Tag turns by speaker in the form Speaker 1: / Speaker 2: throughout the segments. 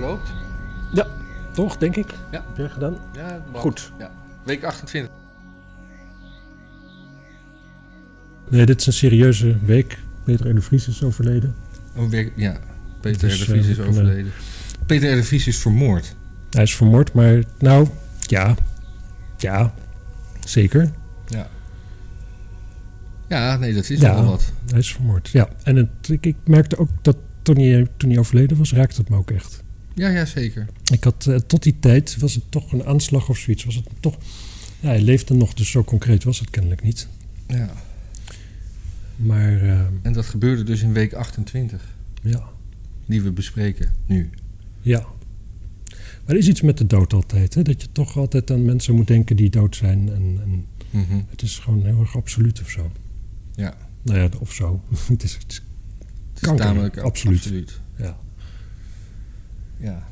Speaker 1: loopt.
Speaker 2: Ja, toch, denk ik.
Speaker 1: Ja.
Speaker 2: Heb jij gedaan?
Speaker 1: Ja, maar-
Speaker 2: Goed.
Speaker 1: Ja. Week 28.
Speaker 2: Nee, dit is een serieuze week. Peter R. de Vries is overleden.
Speaker 1: Oh, week, ja, Peter
Speaker 2: Dus,
Speaker 1: R. de Vries
Speaker 2: eh,
Speaker 1: is
Speaker 2: we kunnen-
Speaker 1: overleden. Peter R. de Vries is vermoord.
Speaker 2: Hij is vermoord, maar nou, ja. Ja, zeker.
Speaker 1: Ja, nee, dat is
Speaker 2: Ja.
Speaker 1: nogal wat.
Speaker 2: Hij is vermoord, ja. En het, ik, ik merkte ook dat toen hij, toen hij overleden was, raakte het me ook echt.
Speaker 1: Ja, ja, zeker.
Speaker 2: Ik had, eh, tot die tijd was het toch een aanslag of zoiets. Was het toch, ja, hij leefde nog, dus zo concreet was het kennelijk niet.
Speaker 1: Ja.
Speaker 2: Maar eh,
Speaker 1: En dat gebeurde dus in week 28,
Speaker 2: ja,
Speaker 1: die we bespreken nu.
Speaker 2: ja. Maar er is iets met de dood altijd. Hè? Dat je toch altijd aan mensen moet denken die dood zijn. En, en
Speaker 1: Mhm.
Speaker 2: het is gewoon heel erg absoluut of zo.
Speaker 1: Ja.
Speaker 2: Nou ja, of zo. het is, het is-
Speaker 1: Het
Speaker 2: Kanker, absoluut. ja.
Speaker 1: Ja.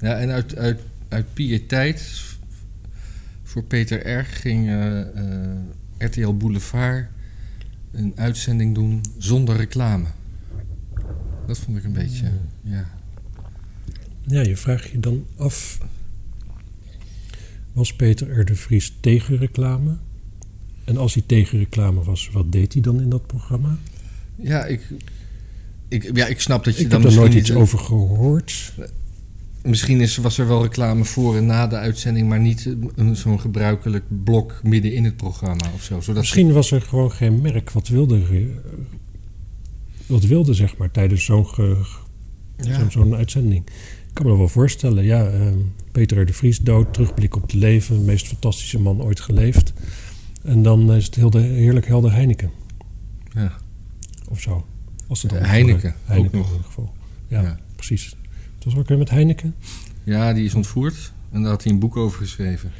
Speaker 1: ja, en uit, uit, uit piëteit voor Peter R. ging eh, eh, RTL Boulevard een uitzending doen zonder reclame. Dat vond ik een beetje,
Speaker 2: Hmm.
Speaker 1: ja.
Speaker 2: ja, je vraagt je dan af... Was Peter R. de Vries tegen reclame? En als hij tegen reclame was, wat deed hij dan in dat programma?
Speaker 1: Ja, ik, ik, ja, ik snap dat je
Speaker 2: Ik
Speaker 1: dan
Speaker 2: heb er nooit
Speaker 1: niet-
Speaker 2: iets over gehoord.
Speaker 1: Misschien is, was er wel reclame voor en na de uitzending, maar niet eh, een- zo'n gebruikelijk blok midden in het programma of zo. Zodat
Speaker 2: Misschien was er gewoon geen merk wat wilde, ge- wat wilde zeg maar, tijdens zo'n ge-
Speaker 1: Ja.
Speaker 2: zo'n- zo'n uitzending. Ik kan me dat wel voorstellen. Ja, ehm, Peter R. de Vries dood, terugblik op het leven. De meest fantastische man ooit geleefd. En dan is het heel de, heerlijk helder Heineken.
Speaker 1: Ja.
Speaker 2: Of zo. Als het
Speaker 1: Eh,
Speaker 2: dan-
Speaker 1: Heineken,
Speaker 2: Heineken
Speaker 1: ook nog.
Speaker 2: in ieder geval. Ja,
Speaker 1: Ja.
Speaker 2: precies. Het was ook weer met Heineken.
Speaker 1: Ja, die is ontvoerd. En daar had hij een boek over geschreven.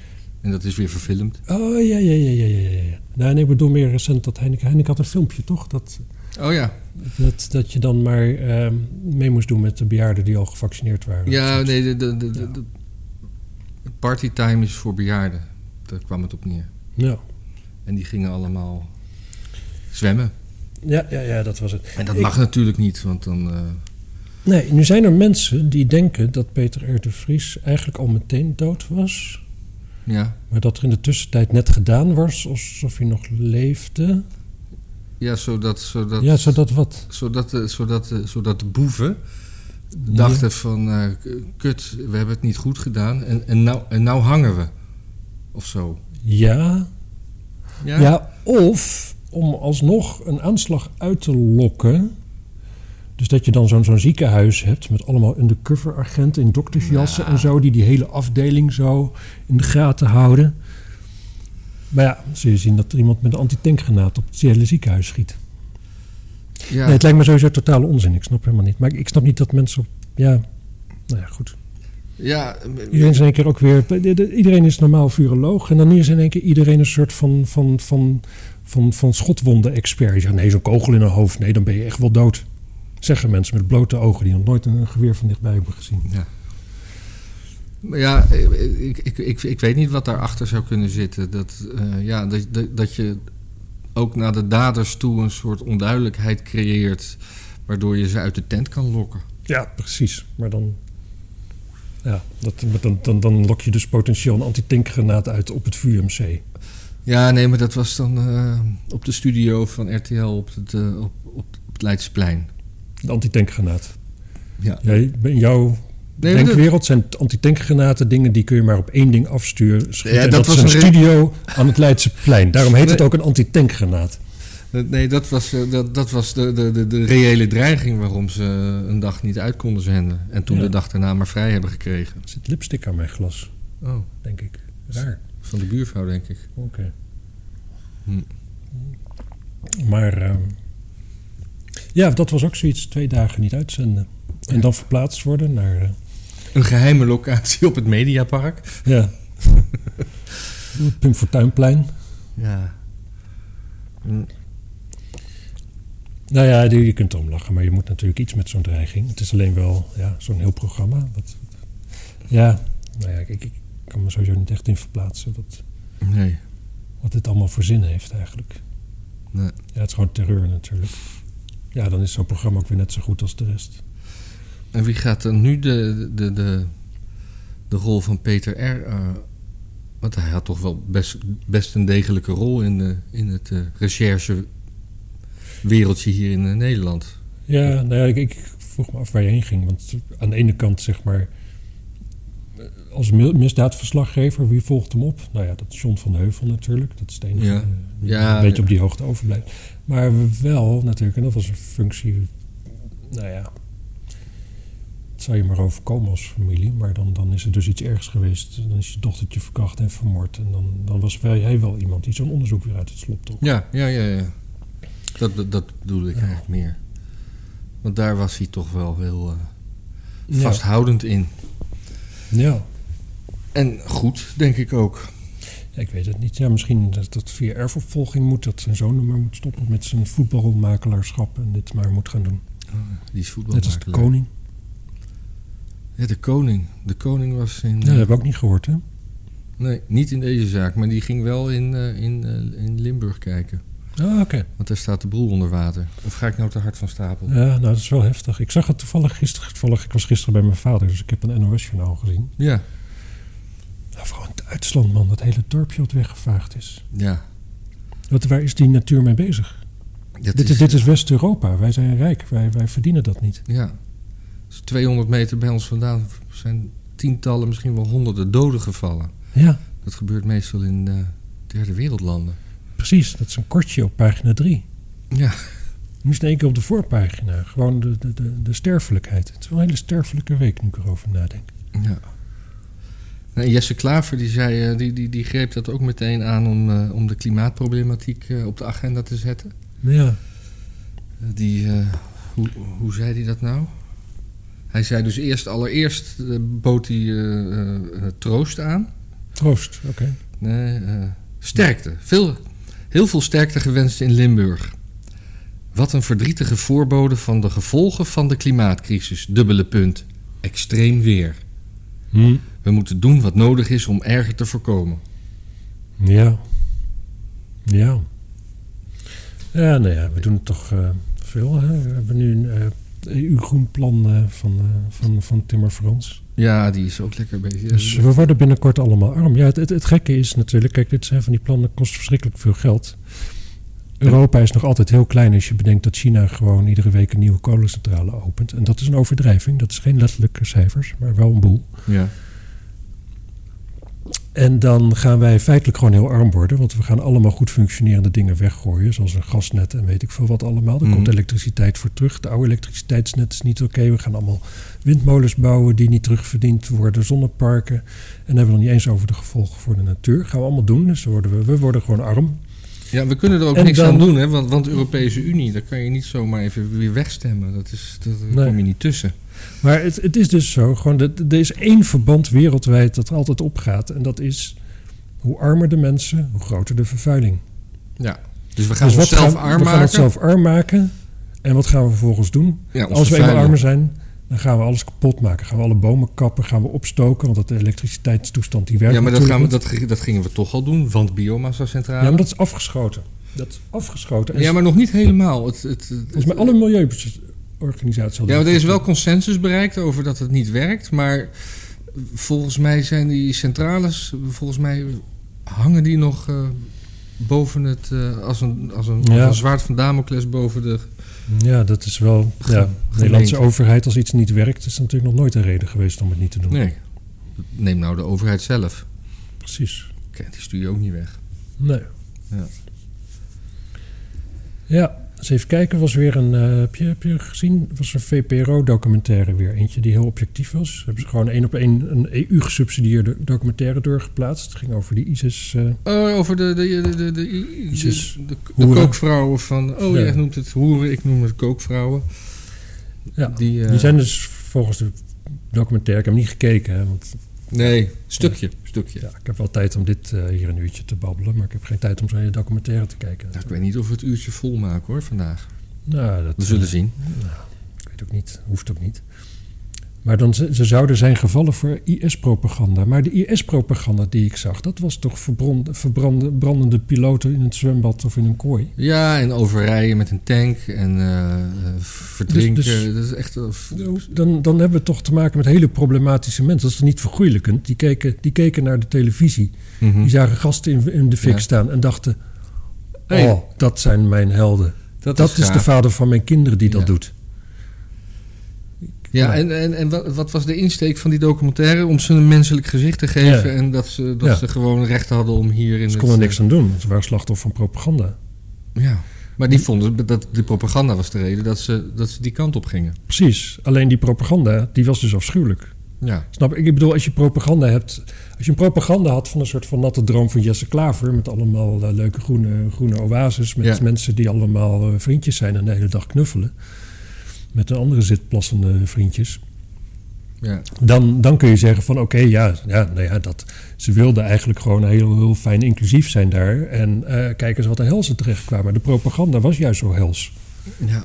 Speaker 1: En dat is weer verfilmd.
Speaker 2: Oh, ja, ja, ja, ja, ja, ja, ja. Nou, nee, ik bedoel meer recent dat Heineken... Heineken had een filmpje, toch? Dat,
Speaker 1: Oh ja.
Speaker 2: Dat, dat je dan maar ehm, mee moest doen met de bejaarden die al gevaccineerd waren.
Speaker 1: Ja,
Speaker 2: Dat soort-
Speaker 1: nee, de, de, de, de- de- partytime is voor bejaarden. Daar kwam het op neer.
Speaker 2: Ja.
Speaker 1: En die gingen allemaal zwemmen.
Speaker 2: Ja, ja, ja, dat was het.
Speaker 1: En dat
Speaker 2: Ik-
Speaker 1: mag natuurlijk niet, want dan... eh,
Speaker 2: Nee, nu zijn er mensen die denken dat Peter R. de Vries eigenlijk al meteen dood was.
Speaker 1: ja.
Speaker 2: Maar dat er in de tussentijd net gedaan was, alsof hij nog leefde.
Speaker 1: ja, zodat... zodat
Speaker 2: Ja, zodat wat?
Speaker 1: Zodat, de- zodat, de- zodat de boeven dachten van... eh, k- kut, we hebben het niet goed gedaan. En, en, nou, en nou hangen we. Of zo.
Speaker 2: Ja, ja. of om alsnog een aanslag uit te lokken. Dus dat je dan zo'n zo'n ziekenhuis hebt met allemaal undercover agenten in doktersjassen en zo, die die hele afdeling zo in de gaten houden. Maar ja, zul je zien dat er iemand met een antitankgranaat op het hele ziekenhuis schiet.
Speaker 1: ja.
Speaker 2: Nee, het lijkt me sowieso totale onzin. Ik snap helemaal niet. Maar ik snap niet dat mensen op. Ja, nou ja, goed.
Speaker 1: ja
Speaker 2: Iedereen is in één keer ook weer. de- de- Iedereen is normaal viroloog. En dan is in één keer iedereen een soort van, van, van, van, van schotwonden-expert. Ja, nee, zo'n kogel in een hoofd. Nee, dan ben je echt wel dood. Zeggen mensen met blote ogen die nog nooit een geweer van dichtbij hebben gezien.
Speaker 1: Ja. Maar ja, ik, ik, ik, ik weet niet wat daarachter zou kunnen zitten. Dat, eh, ja, dat, dat, dat je ook naar de daders toe een soort onduidelijkheid creëert... waardoor je ze uit de tent kan lokken.
Speaker 2: Ja, precies. Maar dan. Ja, dat, maar dan, dan, dan lok je dus potentieel een antitankgranaat uit op het VUMC.
Speaker 1: Ja, nee, maar dat was dan eh, op de studio van RTL op het, eh, op, op, op het Leidseplein.
Speaker 2: De antitankgranaat.
Speaker 1: Ja.
Speaker 2: Jij, in jouw
Speaker 1: Nee, maar dat,
Speaker 2: denkwereld zijn antitankgranaten dingen die kun je maar op één ding afsturen. schieten.
Speaker 1: Ja,
Speaker 2: En
Speaker 1: dat
Speaker 2: dat,
Speaker 1: was
Speaker 2: is een
Speaker 1: een re-
Speaker 2: studio aan het Leidseplein. Daarom heet het
Speaker 1: Nee.
Speaker 2: ook een antitankgranaat.
Speaker 1: nee, dat was, eh, dat, dat was de, de, de, de reële dreiging waarom ze een dag niet uit konden zenden. En toen
Speaker 2: Ja.
Speaker 1: de dag daarna maar vrij hebben gekregen.
Speaker 2: Er zit lipstick aan mijn glas,
Speaker 1: Oh,
Speaker 2: denk ik. Raar.
Speaker 1: van de buurvrouw, denk ik.
Speaker 2: Oké.
Speaker 1: Hm.
Speaker 2: Maar ehm, ja, dat was ook zoiets. Twee dagen niet uitzenden. En dan verplaatst worden naar... eh,
Speaker 1: Een geheime locatie op het Mediapark.
Speaker 2: ja. Pim Fortuynplein.
Speaker 1: Ja.
Speaker 2: Nou ja, die- je kunt erom lachen, maar je moet natuurlijk iets met zo'n dreiging. Het is alleen wel ja, zo'n heel programma. Wat, ja, nou ja, ik, ik kan me sowieso niet echt in verplaatsen wat,
Speaker 1: Nee.
Speaker 2: wat dit allemaal voor zin heeft eigenlijk.
Speaker 1: Nee.
Speaker 2: Ja, het is gewoon terreur natuurlijk. Ja, dan is zo'n programma ook weer net zo goed als de rest.
Speaker 1: En wie gaat dan nu de, de, de, de rol van Peter R. eh, want hij had toch wel best, best een degelijke rol in, de, in het eh recherche-wereldje hier in eh, Nederland.
Speaker 2: Ja, nou ja, ik, ik vroeg me af waar je heen ging. Want aan de ene kant, zeg maar, eh, als mi- misdaadverslaggever, wie volgt hem op? Nou ja, dat is John van de Heuvel natuurlijk. Dat is de enige
Speaker 1: Ja.
Speaker 2: eh, die
Speaker 1: Ja,
Speaker 2: een beetje
Speaker 1: ja.
Speaker 2: op die hoogte overblijft. Maar wel natuurlijk, en dat was een functie, nou ja, het zou je maar overkomen als familie. Maar dan, dan is er dus iets ergs geweest. Dan is je dochtertje verkracht en vermoord. En dan, dan was wel, hij wel iemand die zo'n onderzoek weer uit het slop trok.
Speaker 1: Ja, ja, ja, ja. Dat, dat, dat bedoel ik
Speaker 2: Ja.
Speaker 1: eigenlijk meer. Want daar was hij toch wel heel eh,
Speaker 2: Ja.
Speaker 1: vasthoudend in.
Speaker 2: ja.
Speaker 1: En goed, denk ik ook.
Speaker 2: Ja, ik weet het niet. Ja, misschien dat, dat via erfopvolging moet. Dat zijn zoon maar moet stoppen met zijn voetbalmakelaarschap. En dit maar moet gaan doen.
Speaker 1: Die is voetbal.
Speaker 2: Net als de koning.
Speaker 1: Ja, de koning. De koning was in. eh,
Speaker 2: Ja, dat heb ik ook niet gehoord, hè?
Speaker 1: Nee, niet in deze zaak, maar die ging wel in, eh, in, eh, in Limburg kijken.
Speaker 2: Ah, oké.
Speaker 1: Want daar staat de boel onder water. Of ga ik nou te hard van stapel?
Speaker 2: Ja, nou, dat is wel heftig. Ik zag het toevallig gisteren. Toevallig, ik was gisteren bij mijn vader, dus ik heb een NOS-journaal gezien.
Speaker 1: Ja,
Speaker 2: Nou, vooral in Duitsland, man. Dat hele dorpje wat weggevaagd is.
Speaker 1: ja.
Speaker 2: Wat, waar is die natuur mee bezig?
Speaker 1: Dat
Speaker 2: dit is, dit is West-Europa. Wij zijn rijk. Wij, wij verdienen dat niet.
Speaker 1: Ja. Dus 200 meter bij ons vandaan zijn tientallen, misschien wel honderden doden gevallen.
Speaker 2: Ja,
Speaker 1: Dat gebeurt meestal in eh, derde wereldlanden.
Speaker 2: precies. Dat is een kortje op pagina 3.
Speaker 1: Ja.
Speaker 2: Nu is het in één keer op de voorpagina. Gewoon de, de, de, de sterfelijkheid. Het is wel een hele sterfelijke week nu ik erover nadenk.
Speaker 1: ja. Nou, Jesse Klaver die zei, eh, die, die, die greep dat ook meteen aan om, eh, om de klimaatproblematiek eh, op de agenda te zetten.
Speaker 2: Ja.
Speaker 1: Die, eh, hoe, hoe zei hij dat nou? Hij zei dus eerst, allereerst eh, bood hij eh, eh, troost aan.
Speaker 2: Troost, oké.
Speaker 1: Nee, eh, sterkte. Veel, heel veel sterkte gewenst in Limburg. Wat een verdrietige voorbode van de gevolgen van de klimaatcrisis. Dubbele punt. Extreem weer. We moeten doen wat nodig is om erger te voorkomen.
Speaker 2: Ja. Ja. Ja, nou ja, we doen het toch eh, veel. Hè? We hebben nu een eh EU-groen plan eh, van, eh, van, van Timmer Frans.
Speaker 1: Ja, die is ook lekker bezig.
Speaker 2: Dus we worden binnenkort allemaal arm. Ja, het, het, het gekke is natuurlijk... Kijk, dit zijn van die plannen, kost verschrikkelijk veel geld. Europa is nog altijd heel klein als je bedenkt dat China gewoon iedere week een nieuwe kolencentrale opent. En dat is een overdrijving, dat is geen letterlijke cijfers, maar wel een boel.
Speaker 1: ja.
Speaker 2: En dan gaan wij feitelijk gewoon heel arm worden, want we gaan allemaal goed functionerende dingen weggooien, zoals een gasnet en weet ik veel wat allemaal. Daar
Speaker 1: Mhm.
Speaker 2: komt elektriciteit voor terug. De oude elektriciteitsnet is niet oké. We gaan allemaal windmolens bouwen die niet terugverdiend worden, zonneparken. En dan hebben we nog niet eens over de gevolgen voor de natuur. Gaan we allemaal doen, dus dan worden we, we worden gewoon arm.
Speaker 1: Ja, we kunnen er ook
Speaker 2: En
Speaker 1: niks
Speaker 2: dan-
Speaker 1: aan doen, hè? Want, want de Europese Unie, daar kan je niet zomaar even weer wegstemmen. Dat is, dat, daar
Speaker 2: Nee.
Speaker 1: kom je niet tussen.
Speaker 2: Maar het, het is dus zo, gewoon, dat- er is één verband wereldwijd dat altijd opgaat. En dat is hoe armer de mensen, hoe groter de vervuiling.
Speaker 1: Dus we gaan
Speaker 2: dus wat
Speaker 1: onszelf
Speaker 2: gaan,
Speaker 1: arm
Speaker 2: we gaan
Speaker 1: maken.
Speaker 2: onszelf arm maken. En wat gaan we vervolgens doen?
Speaker 1: Ja, ons
Speaker 2: Als we eenmaal
Speaker 1: vervuilen.
Speaker 2: armer zijn, dan gaan we alles kapot maken. Gaan we alle bomen kappen, gaan we opstoken. Want dat elektriciteitstoestand die werkt
Speaker 1: Ja, maar dat,
Speaker 2: natuurlijk
Speaker 1: gaan we,
Speaker 2: niet.
Speaker 1: dat, ge- dat gingen we toch al doen, want biomassa-centrale.
Speaker 2: Ja, maar dat is afgeschoten. Dat is afgeschoten. En
Speaker 1: nog niet helemaal. Het, het, het-
Speaker 2: Volgens mij alle milieuorganisaties hadden
Speaker 1: ja, maar er
Speaker 2: dat
Speaker 1: is
Speaker 2: goed
Speaker 1: wel
Speaker 2: gedaan.
Speaker 1: consensus bereikt over dat het niet werkt. Maar volgens mij zijn die centrales, volgens mij hangen die nog eh, boven het, eh, als, een, als, een, als
Speaker 2: Ja.
Speaker 1: een zwaard van Damocles boven de...
Speaker 2: Ja, dat is wel... Ja, de Nederlandse overheid, als iets niet werkt... is natuurlijk nog nooit een reden geweest om het niet te doen.
Speaker 1: Nee, neem nou de overheid zelf.
Speaker 2: Precies.
Speaker 1: Oké, die stuur je ook niet weg.
Speaker 2: Nee.
Speaker 1: Ja.
Speaker 2: Ja, eens even kijken. Was weer een, eh, heb, je, heb je gezien? Was een VPRO-documentaire weer. Eentje die heel objectief was. Hebben ze gewoon één op één een EU-gesubsidieerde documentaire doorgeplaatst. Het ging over die ISIS. eh,
Speaker 1: Oh, over de, de, de, de, de, de,
Speaker 2: Jezus.
Speaker 1: de- de
Speaker 2: Hoeren.
Speaker 1: kookvrouwen van... Oh,
Speaker 2: Ja.
Speaker 1: jij noemt het hoeren, ik noem het kookvrouwen.
Speaker 2: Ja,
Speaker 1: die, eh,
Speaker 2: Die zijn dus volgens de documentaire. Ik heb hem niet gekeken, hè, want
Speaker 1: Nee, stukje, stukje.
Speaker 2: ja, ik heb wel tijd om dit eh, hier een uurtje te babbelen. Maar ik heb geen tijd om zo'n hele documentaire te kijken.
Speaker 1: Nou, ik weet niet of we het uurtje vol maken hoor vandaag.
Speaker 2: Nou, dat,
Speaker 1: We zullen
Speaker 2: eh,
Speaker 1: zien.
Speaker 2: Ik weet ook niet, hoeft ook niet. Maar dan, ze, ze zouden zijn gevallen voor IS-propaganda. Maar de IS-propaganda die ik zag, dat was toch verbrand- verbrande- brandende piloten in het zwembad of in een kooi.
Speaker 1: Ja, en overrijden met een tank en eh, eh, verdrinken.
Speaker 2: Dus-
Speaker 1: dat is echt... eh, f-
Speaker 2: Dan, dan hebben we toch te maken met hele problematische mensen. Dat is niet vergoeilijkend. Die keken, die keken naar de televisie.
Speaker 1: Mhm.
Speaker 2: Die zagen gasten in, in de fik
Speaker 1: Ja.
Speaker 2: staan en dachten...
Speaker 1: Hey.
Speaker 2: Oh, dat zijn mijn helden. Dat, is, de
Speaker 1: gaaf.
Speaker 2: vader van mijn kinderen die dat
Speaker 1: Ja.
Speaker 2: doet.
Speaker 1: Ja,
Speaker 2: Ja.
Speaker 1: en, en, en wat, wat was de insteek van die documentaire? Om ze een menselijk gezicht te geven
Speaker 2: Ja.
Speaker 1: en dat ze, dat
Speaker 2: Ja.
Speaker 1: ze gewoon recht hadden om hier in
Speaker 2: Ze
Speaker 1: het- eh,
Speaker 2: konden niks aan doen. want Ze waren slachtoffer van propaganda.
Speaker 1: Ja, maar
Speaker 2: Hm.
Speaker 1: die vonden dat de propaganda was de reden dat ze, dat ze die kant op gingen.
Speaker 2: Precies. Alleen die propaganda, die was dus afschuwelijk.
Speaker 1: Ja,
Speaker 2: Snap je? Ik bedoel, als je propaganda hebt... Als je een propaganda had van een soort van natte droom van Jesse Klaver... met allemaal eh, leuke groene, groene oases... met
Speaker 1: Ja.
Speaker 2: mensen die allemaal eh, vriendjes zijn en de hele dag knuffelen... met de andere zitplassende vriendjes...
Speaker 1: ja.
Speaker 2: dan, dan kun je zeggen van oké, ja, ja, nou ja, dat, ze wilden eigenlijk gewoon heel, heel fijn inclusief zijn daar. En eh kijk eens wat een hel ze terechtkwamen. De propaganda was juist zo hels.
Speaker 1: ja.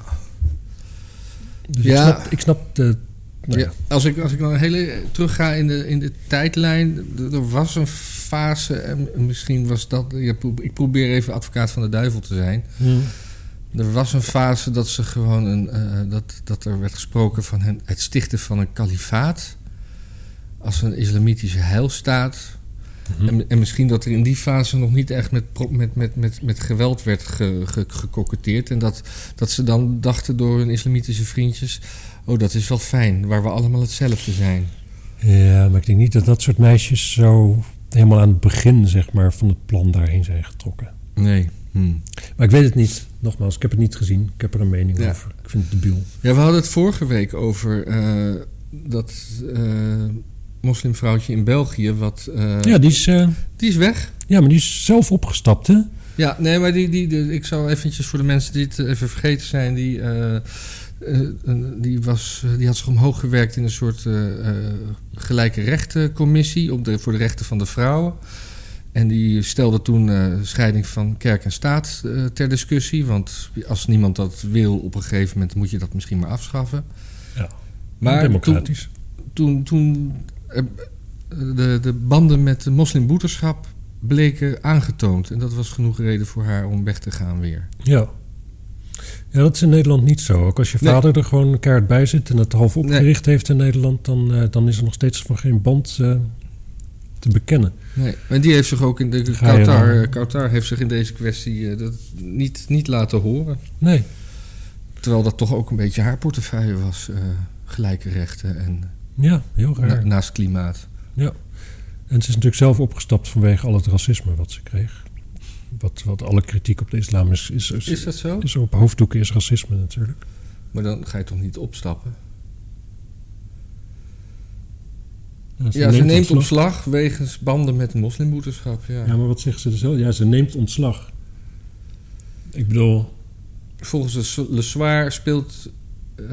Speaker 2: Dus
Speaker 1: Ja.
Speaker 2: ik snap, ik snap de, nou ja.
Speaker 1: Ja, Als, ik, als ik dan een hele terugga in de, in de tijdlijn, d- er was een fase, en misschien was dat, ja, pro- ik probeer even advocaat van de duivel te zijn. Er was een fase dat, ze gewoon een, eh, dat, dat er werd gesproken van hen, het stichten van een kalifaat als een islamitische heilstaat.
Speaker 2: Mhm.
Speaker 1: En, en misschien dat er in die fase nog niet echt met, pro- met, met, met, met geweld werd ge, ge- gekoketteerd. En dat, dat ze dan dachten door hun islamitische vriendjes... oh, dat is wel fijn, waar we allemaal hetzelfde zijn.
Speaker 2: ja, maar ik denk niet dat dat soort meisjes zo helemaal aan het begin zeg maar, van het plan daarheen zijn getrokken.
Speaker 1: Nee.
Speaker 2: hmm. Maar ik weet het niet. Nogmaals, ik heb het niet gezien. Ik heb er een mening
Speaker 1: Ja.
Speaker 2: over. Ik vind het debiel.
Speaker 1: Ja, we hadden het vorige week over eh, dat eh, moslimvrouwtje in België... Wat, eh,
Speaker 2: Ja, die is, eh,
Speaker 1: die is weg.
Speaker 2: ja, maar die is zelf opgestapt, hè?
Speaker 1: Ja, nee, maar die, die, die- ik zal eventjes voor de mensen die het even vergeten zijn, die, eh, eh, een- die, was, die had zich omhoog gewerkt in een soort eh, eh, gelijke rechtencommissie op de, voor de rechten van de vrouwen. En die stelde toen eh, scheiding van kerk en staat eh, ter discussie. Want als niemand dat wil op een gegeven moment, moet je dat misschien maar afschaffen.
Speaker 2: Ja,
Speaker 1: Maar toen,
Speaker 2: democratisch.
Speaker 1: toen, toen eh, de, de banden met de moslimbroederschap bleken aangetoond. En dat was genoeg reden voor haar om weg te gaan weer.
Speaker 2: Ja. Ja, dat is in Nederland niet zo. Ook als je
Speaker 1: Nee.
Speaker 2: vader er gewoon een kaart bij zit en het half opgericht heeft in Nederland, dan, eh, dan is er nog steeds van geen band eh, te bekennen.
Speaker 1: Nee. En die heeft zich ook in de
Speaker 2: Ga je
Speaker 1: Qatar,
Speaker 2: dan?
Speaker 1: eh, Qatar heeft zich in deze kwestie eh, dat niet, niet laten horen.
Speaker 2: Nee.
Speaker 1: Terwijl dat toch ook een beetje haar portefeuille was. eh, gelijke rechten en
Speaker 2: Ja, heel raar.
Speaker 1: na- naast klimaat.
Speaker 2: En ze is natuurlijk zelf opgestapt vanwege al het racisme wat ze kreeg. Wat, wat alle kritiek op de islam is. Is, is,
Speaker 1: Is dat zo?
Speaker 2: is op hoofddoeken is racisme natuurlijk.
Speaker 1: Maar dan ga je toch niet opstappen?
Speaker 2: neemt
Speaker 1: Ja, ze neemt
Speaker 2: ontslag.
Speaker 1: ontslag wegens banden met de moslimbroederschap. Ja.
Speaker 2: Ja, maar wat zegt ze er zelf? Ja, ze neemt ontslag. Ik bedoel,
Speaker 1: Volgens de Le Soir speelt eh,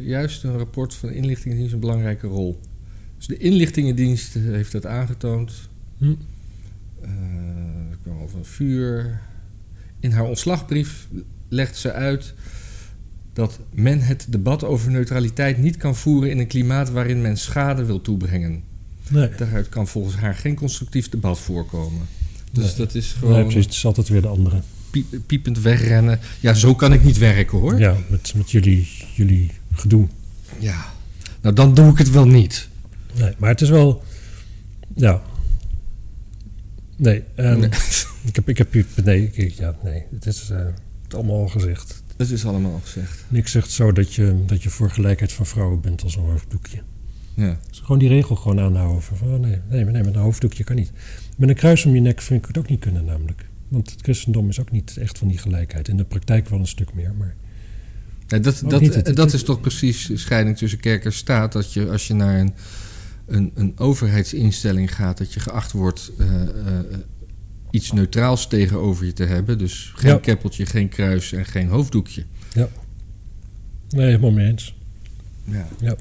Speaker 1: juist een rapport van de inlichtingendienst een belangrijke rol. Dus de inlichtingendienst heeft dat aangetoond.
Speaker 2: Hm.
Speaker 1: Eh, er kwam over een vuur. In haar ontslagbrief legt ze uit dat men het debat over neutraliteit niet kan voeren in een klimaat waarin men schade wil toebrengen.
Speaker 2: nee.
Speaker 1: Daaruit kan volgens haar geen constructief debat voorkomen. Dus
Speaker 2: Nee.
Speaker 1: dat is
Speaker 2: nee,
Speaker 1: gewoon
Speaker 2: precies. Het is altijd weer de andere.
Speaker 1: piep- piepend wegrennen. Ja, zo kan ik niet werken hoor.
Speaker 2: Ja, met, met jullie, jullie gedoe.
Speaker 1: Ja. Nou, dan doe ik het wel niet.
Speaker 2: Nee, maar het is wel. Ja. Nee, ehm,
Speaker 1: Nee.
Speaker 2: Ik, heb, ik heb hier. Nee, ik- ja, nee. Het is eh, het allemaal al gezegd.
Speaker 1: Dat is allemaal gezegd.
Speaker 2: Niks zegt zo dat je, dat je voor gelijkheid van vrouwen bent als een hoofddoekje.
Speaker 1: Ja.
Speaker 2: Dus gewoon die regel gewoon aanhouden. Van, van, oh, nee, nee, nee, met een hoofddoekje kan niet. Met een kruis om je nek vind ik het ook niet kunnen, namelijk. Want het christendom is ook niet echt van die gelijkheid. In de praktijk wel een stuk meer, maar.
Speaker 1: Ja, dat,
Speaker 2: Ook
Speaker 1: dat,
Speaker 2: niet het-
Speaker 1: eh, dat
Speaker 2: het-
Speaker 1: is toch precies de scheiding tussen kerk en staat. Dat je als je naar een, een, een overheidsinstelling gaat, dat je geacht wordt eh, eh, iets neutraals tegenover je te hebben. Dus geen
Speaker 2: Ja.
Speaker 1: keppeltje, geen kruis en geen hoofddoekje.
Speaker 2: Nee, helemaal mee eens.
Speaker 1: Ja.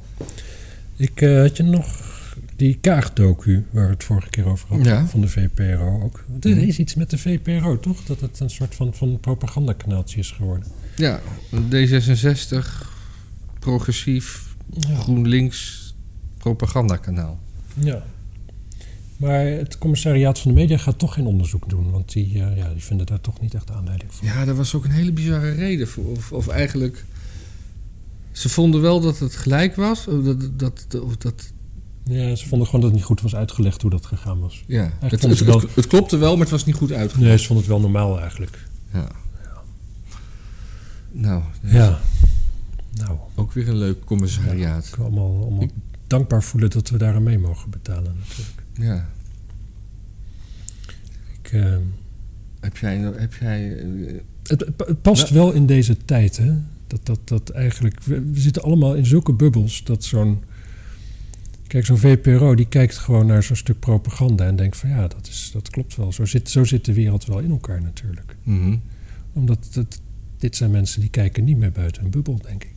Speaker 2: Ik eh, had je nog die kaagdocu waar we het vorige keer over hadden,
Speaker 1: Ja.
Speaker 2: van de VPRO ook. Want Er
Speaker 1: Mhm.
Speaker 2: is iets met de VPRO, toch? Dat het een soort van, van propagandakanaaltje is geworden.
Speaker 1: ja, D66, progressief, GroenLinks, propagandakanaal.
Speaker 2: Ja. Maar het commissariaat van de media gaat toch geen onderzoek doen, want die, eh, ja, die vinden daar toch niet echt aanleiding voor.
Speaker 1: Ja, daar was ook een hele bizarre reden voor. Of, of eigenlijk. Ze vonden wel dat het gelijk was. Of dat, dat, of dat,
Speaker 2: Ja, ze vonden gewoon dat het niet goed was uitgelegd hoe dat gegaan was.
Speaker 1: ja. Het,
Speaker 2: vonden
Speaker 1: het,
Speaker 2: ze wel-
Speaker 1: het- het klopte wel, maar het was niet goed uitgelegd.
Speaker 2: Nee, ze vonden het wel normaal eigenlijk.
Speaker 1: Ja. Nou, dat is
Speaker 2: Ja. Nou,
Speaker 1: ook weer een leuk commissariaat.
Speaker 2: ik wil allemaal, allemaal dankbaar voelen dat we daar aan mee mogen betalen natuurlijk.
Speaker 1: Ja.
Speaker 2: Ik, eh,
Speaker 1: Heb jij. Heb jij eh,
Speaker 2: het, het- het past
Speaker 1: Ja.
Speaker 2: wel in deze tijd, hè? Dat, dat, dat eigenlijk... We, we zitten allemaal in zulke bubbels dat zo'n... Kijk, zo'n VPRO die kijkt gewoon naar zo'n stuk propaganda... en denkt van ja, dat, is, dat klopt wel. Zo zit, zo zit de wereld wel in elkaar natuurlijk.
Speaker 1: mhm.
Speaker 2: Omdat dat, dit zijn mensen die kijken niet meer buiten een bubbel, denk ik.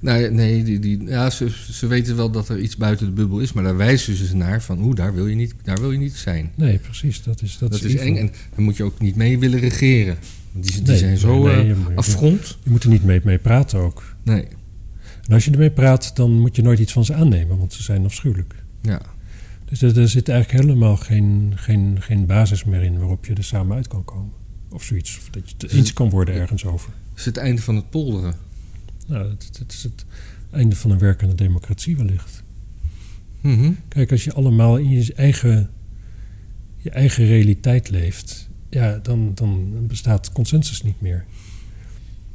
Speaker 1: Nou, ja, nee, die, die, ja, ze, ze weten wel dat er iets buiten de bubbel is, maar daar wijzen ze naar van, oeh, daar wil je niet, daar wil je niet zijn.
Speaker 2: Nee, precies. Dat is, dat
Speaker 1: Dat, is
Speaker 2: evil.
Speaker 1: eng en daar moet je ook niet mee willen regeren. Want die, die
Speaker 2: Nee,
Speaker 1: zijn zo
Speaker 2: nee,
Speaker 1: eh,
Speaker 2: je moet-
Speaker 1: afgrond.
Speaker 2: Je moet er niet mee, mee praten ook.
Speaker 1: Nee,
Speaker 2: En als je ermee praat, dan moet je nooit iets van ze aannemen... want ze zijn afschuwelijk.
Speaker 1: ja.
Speaker 2: Dus er, er zit eigenlijk helemaal geen, geen, geen basis meer in waarop je er samen uit kan komen. Of zoiets. Of dat je het eens kan worden ergens over.
Speaker 1: Dat is het einde van het polderen.
Speaker 2: Nou, dat, dat is het einde van een werkende democratie wellicht.
Speaker 1: Mhm.
Speaker 2: Kijk, als je allemaal in je eigen, je eigen realiteit leeft, ja, dan, dan bestaat consensus niet meer.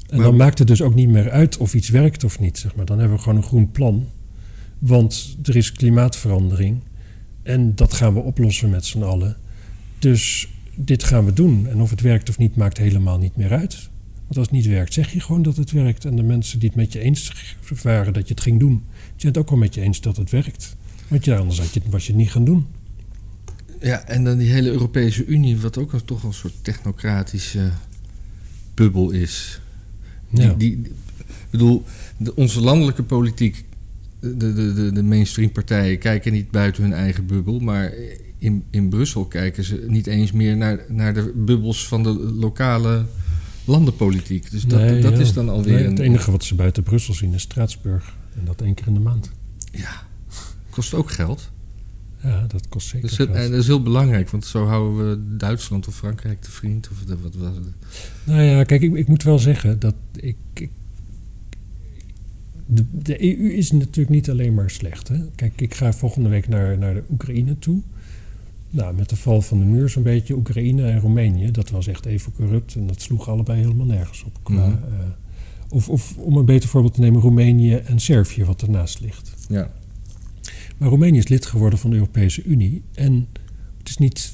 Speaker 2: En
Speaker 1: Maar-
Speaker 2: dan maakt het dus ook niet meer uit of iets werkt of niet, zeg maar. Dan hebben we gewoon een groen plan. Want er is klimaatverandering. En dat gaan we oplossen met z'n allen. Dus dit gaan we doen. En of het werkt of niet, maakt helemaal niet meer uit. Want als het niet werkt, zeg je gewoon dat het werkt. En de mensen die het met je eens waren dat je het ging doen, die zijn het ook wel met je eens dat het werkt. Want ja, anders had je, het- was je het niet gaan doen.
Speaker 1: Ja, en dan die hele Europese Unie, wat ook een, toch een soort technocratische bubbel is.
Speaker 2: Ja.
Speaker 1: Die, die, ik bedoel, de, onze landelijke politiek, de, de, de, de mainstream partijen kijken niet buiten hun eigen bubbel, maar in, in Brussel kijken ze niet eens meer naar, naar de bubbels van de lokale landenpolitiek. Dus dat,
Speaker 2: Nee,
Speaker 1: dat
Speaker 2: ja.
Speaker 1: is dan alweer
Speaker 2: Nee, het
Speaker 1: een-
Speaker 2: enige wat ze buiten Brussel zien is Straatsburg. En dat één keer in de maand.
Speaker 1: Ja, kost ook geld.
Speaker 2: Ja, dat kost zeker
Speaker 1: Dat is, heel-
Speaker 2: geld.
Speaker 1: Dus en dat is heel belangrijk, want zo houden we Duitsland of Frankrijk te vriend. Of de, wat was het?
Speaker 2: Nou ja, kijk, ik, ik moet wel zeggen dat ik. ik de, de EU is natuurlijk niet alleen maar slecht. Hè? Kijk, ik ga volgende week naar, naar de Oekraïne toe. Nou, met de val van de muur zo'n beetje. Oekraïne en Roemenië, dat was echt even corrupt. En dat sloeg allebei helemaal nergens op. Qua,
Speaker 1: Mhm.
Speaker 2: eh, of, of om een beter voorbeeld te nemen, Roemenië en Servië, wat ernaast ligt.
Speaker 1: Ja.
Speaker 2: Maar Roemenië is lid geworden van de Europese Unie. En het is niet.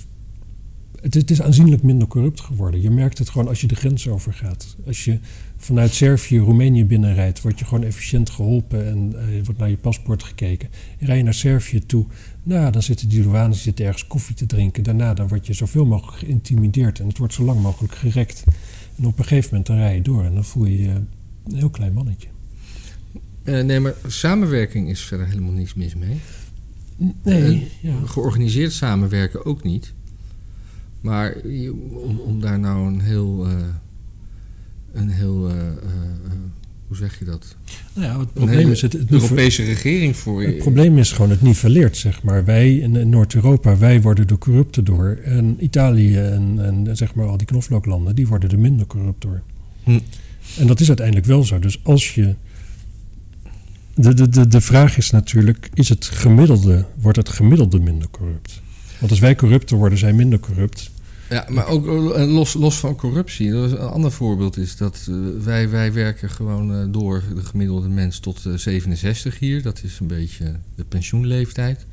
Speaker 2: Het, het is aanzienlijk minder corrupt geworden. Je merkt het gewoon als je de grens overgaat. Als je vanuit Servië Roemenië binnenrijdt, word je gewoon efficiënt geholpen en eh, je wordt naar je paspoort gekeken. En rij je naar Servië toe, nou, dan zitten die douanes zitten ergens koffie te drinken. Daarna dan word je zoveel mogelijk geïntimideerd en het wordt zo lang mogelijk gerekt. En op een gegeven moment dan rij je door en dan voel je je een heel klein mannetje.
Speaker 1: Eh, nee, maar samenwerking is verder helemaal niks mis mee.
Speaker 2: Nee, ja.
Speaker 1: Georganiseerd samenwerken ook niet. Maar je- om, om daar nou een heel. eh, een heel. eh, eh, eh, hoe zeg je dat?
Speaker 2: Nou ja, het
Speaker 1: Een
Speaker 2: probleem
Speaker 1: hele
Speaker 2: is, het, het
Speaker 1: Europese regering voor
Speaker 2: Het probleem is gewoon, het niveleert, zeg maar. Wij in in Noord-Europa, wij worden de corrupte door. En Italië en, en zeg maar al die knoflooklanden, die worden er minder corrupt door.
Speaker 1: Hm.
Speaker 2: En dat is uiteindelijk wel zo. Dus als je... De, de, de, de vraag is natuurlijk, is het gemiddelde, wordt het gemiddelde minder corrupt? Want als wij corrupter worden, zijn minder corrupt.
Speaker 1: Ja, maar ook eh, los, los van corruptie. Dat is- Een ander voorbeeld is dat eh, wij, wij werken gewoon eh, door de gemiddelde mens tot eh, 67 hier. Dat is een beetje de pensioenleeftijd.